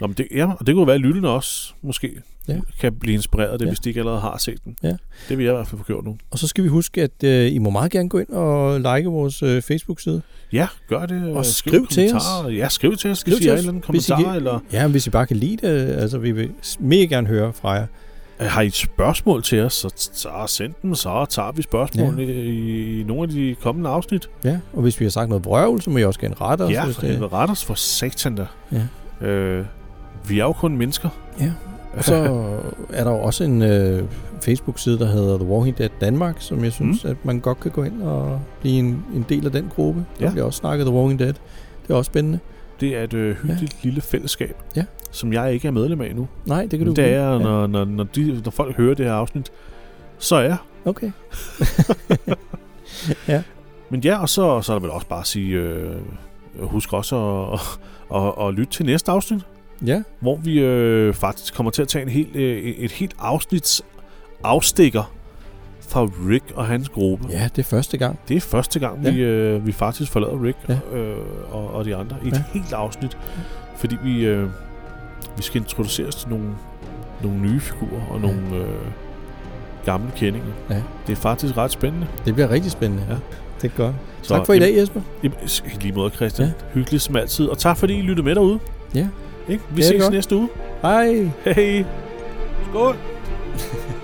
A: Nå, men det, ja, og det kunne være, at lytterne også måske ja.
B: Ja.
A: kan blive inspireret af det, ja.
B: Ja.
A: hvis de ikke allerede har set den.
B: Ja.
A: Det vil jeg i hvert fald få gjort nu.
B: Og så skal vi huske, at øh, I må meget gerne gå ind og like vores øh, Facebook-side.
A: Ja, gør det.
B: Og
A: øh,
B: skriv til
A: kommentarer. Ja, skriv til os. Skriv
B: Skriv
A: hvis I
B: til
A: har en eller anden kommentar,
B: os, hvis I kan-
A: eller
B: Ja, men hvis I bare kan lide det, altså vi vil s- mega gerne høre fra jer.
A: øh, har I et spørgsmål til os, så, så send dem, så tager vi spørgsmålene ja. i, i nogle af de kommende afsnit.
B: Ja, og hvis vi har sagt noget brøvl, så må I også gerne rette os.
A: Ja,
B: hvis
A: for helvede, ret os for satan der.
B: Ja.
A: Øh, vi er jo kun mennesker.
B: Ja. Og så er der jo også en øh, Facebook-side, der hedder The Walking Dead Danmark, som jeg synes, mm. at man godt kan gå ind og blive en, en del af den gruppe. Der
A: Ja.
B: bliver også snakket The Walking Dead. Det er også spændende.
A: Det er et øh, hyggeligt ja. lille fællesskab,
B: Ja.
A: som jeg ikke er medlem af endnu.
B: Nej, det kan du
A: Men det
B: blive.
A: er,
B: Ja.
A: når, når, når, de, når folk hører det her afsnit, så er jeg.
B: Okay.
A: Men ja, og så, så er der vel også bare at sige, øh, husk også at, at, at, at lytte til næste afsnit,
B: Ja,
A: hvor vi øh, faktisk kommer til at tage en helt, øh, et helt afsnits afstikker fra Rick og hans gruppe.
B: ja, det er første gang.
A: Det er første gang,
B: Ja.
A: vi, øh, vi faktisk forlader Rick
B: Ja.
A: øh, og, og de andre i et
B: Ja.
A: helt afsnit, fordi vi, øh, vi skal introduceres til nogle, nogle nye figurer og
B: Ja.
A: nogle øh, gamle kendinger.
B: Ja.
A: Det er faktisk ret spændende.
B: Det bliver rigtig spændende.
A: Ja.
B: Det er godt. Tak for i
A: jamen,
B: dag, Jesper.
A: Jamen, s- I lige måde, Christian. Ja. Hyggeligt som altid. Og tak fordi I lyttede med derude.
B: Ja.
A: Ikke? Vi
B: Ja, det er
A: ses
B: godt.
A: næste uge.
B: Hej.
A: Hej. Skål.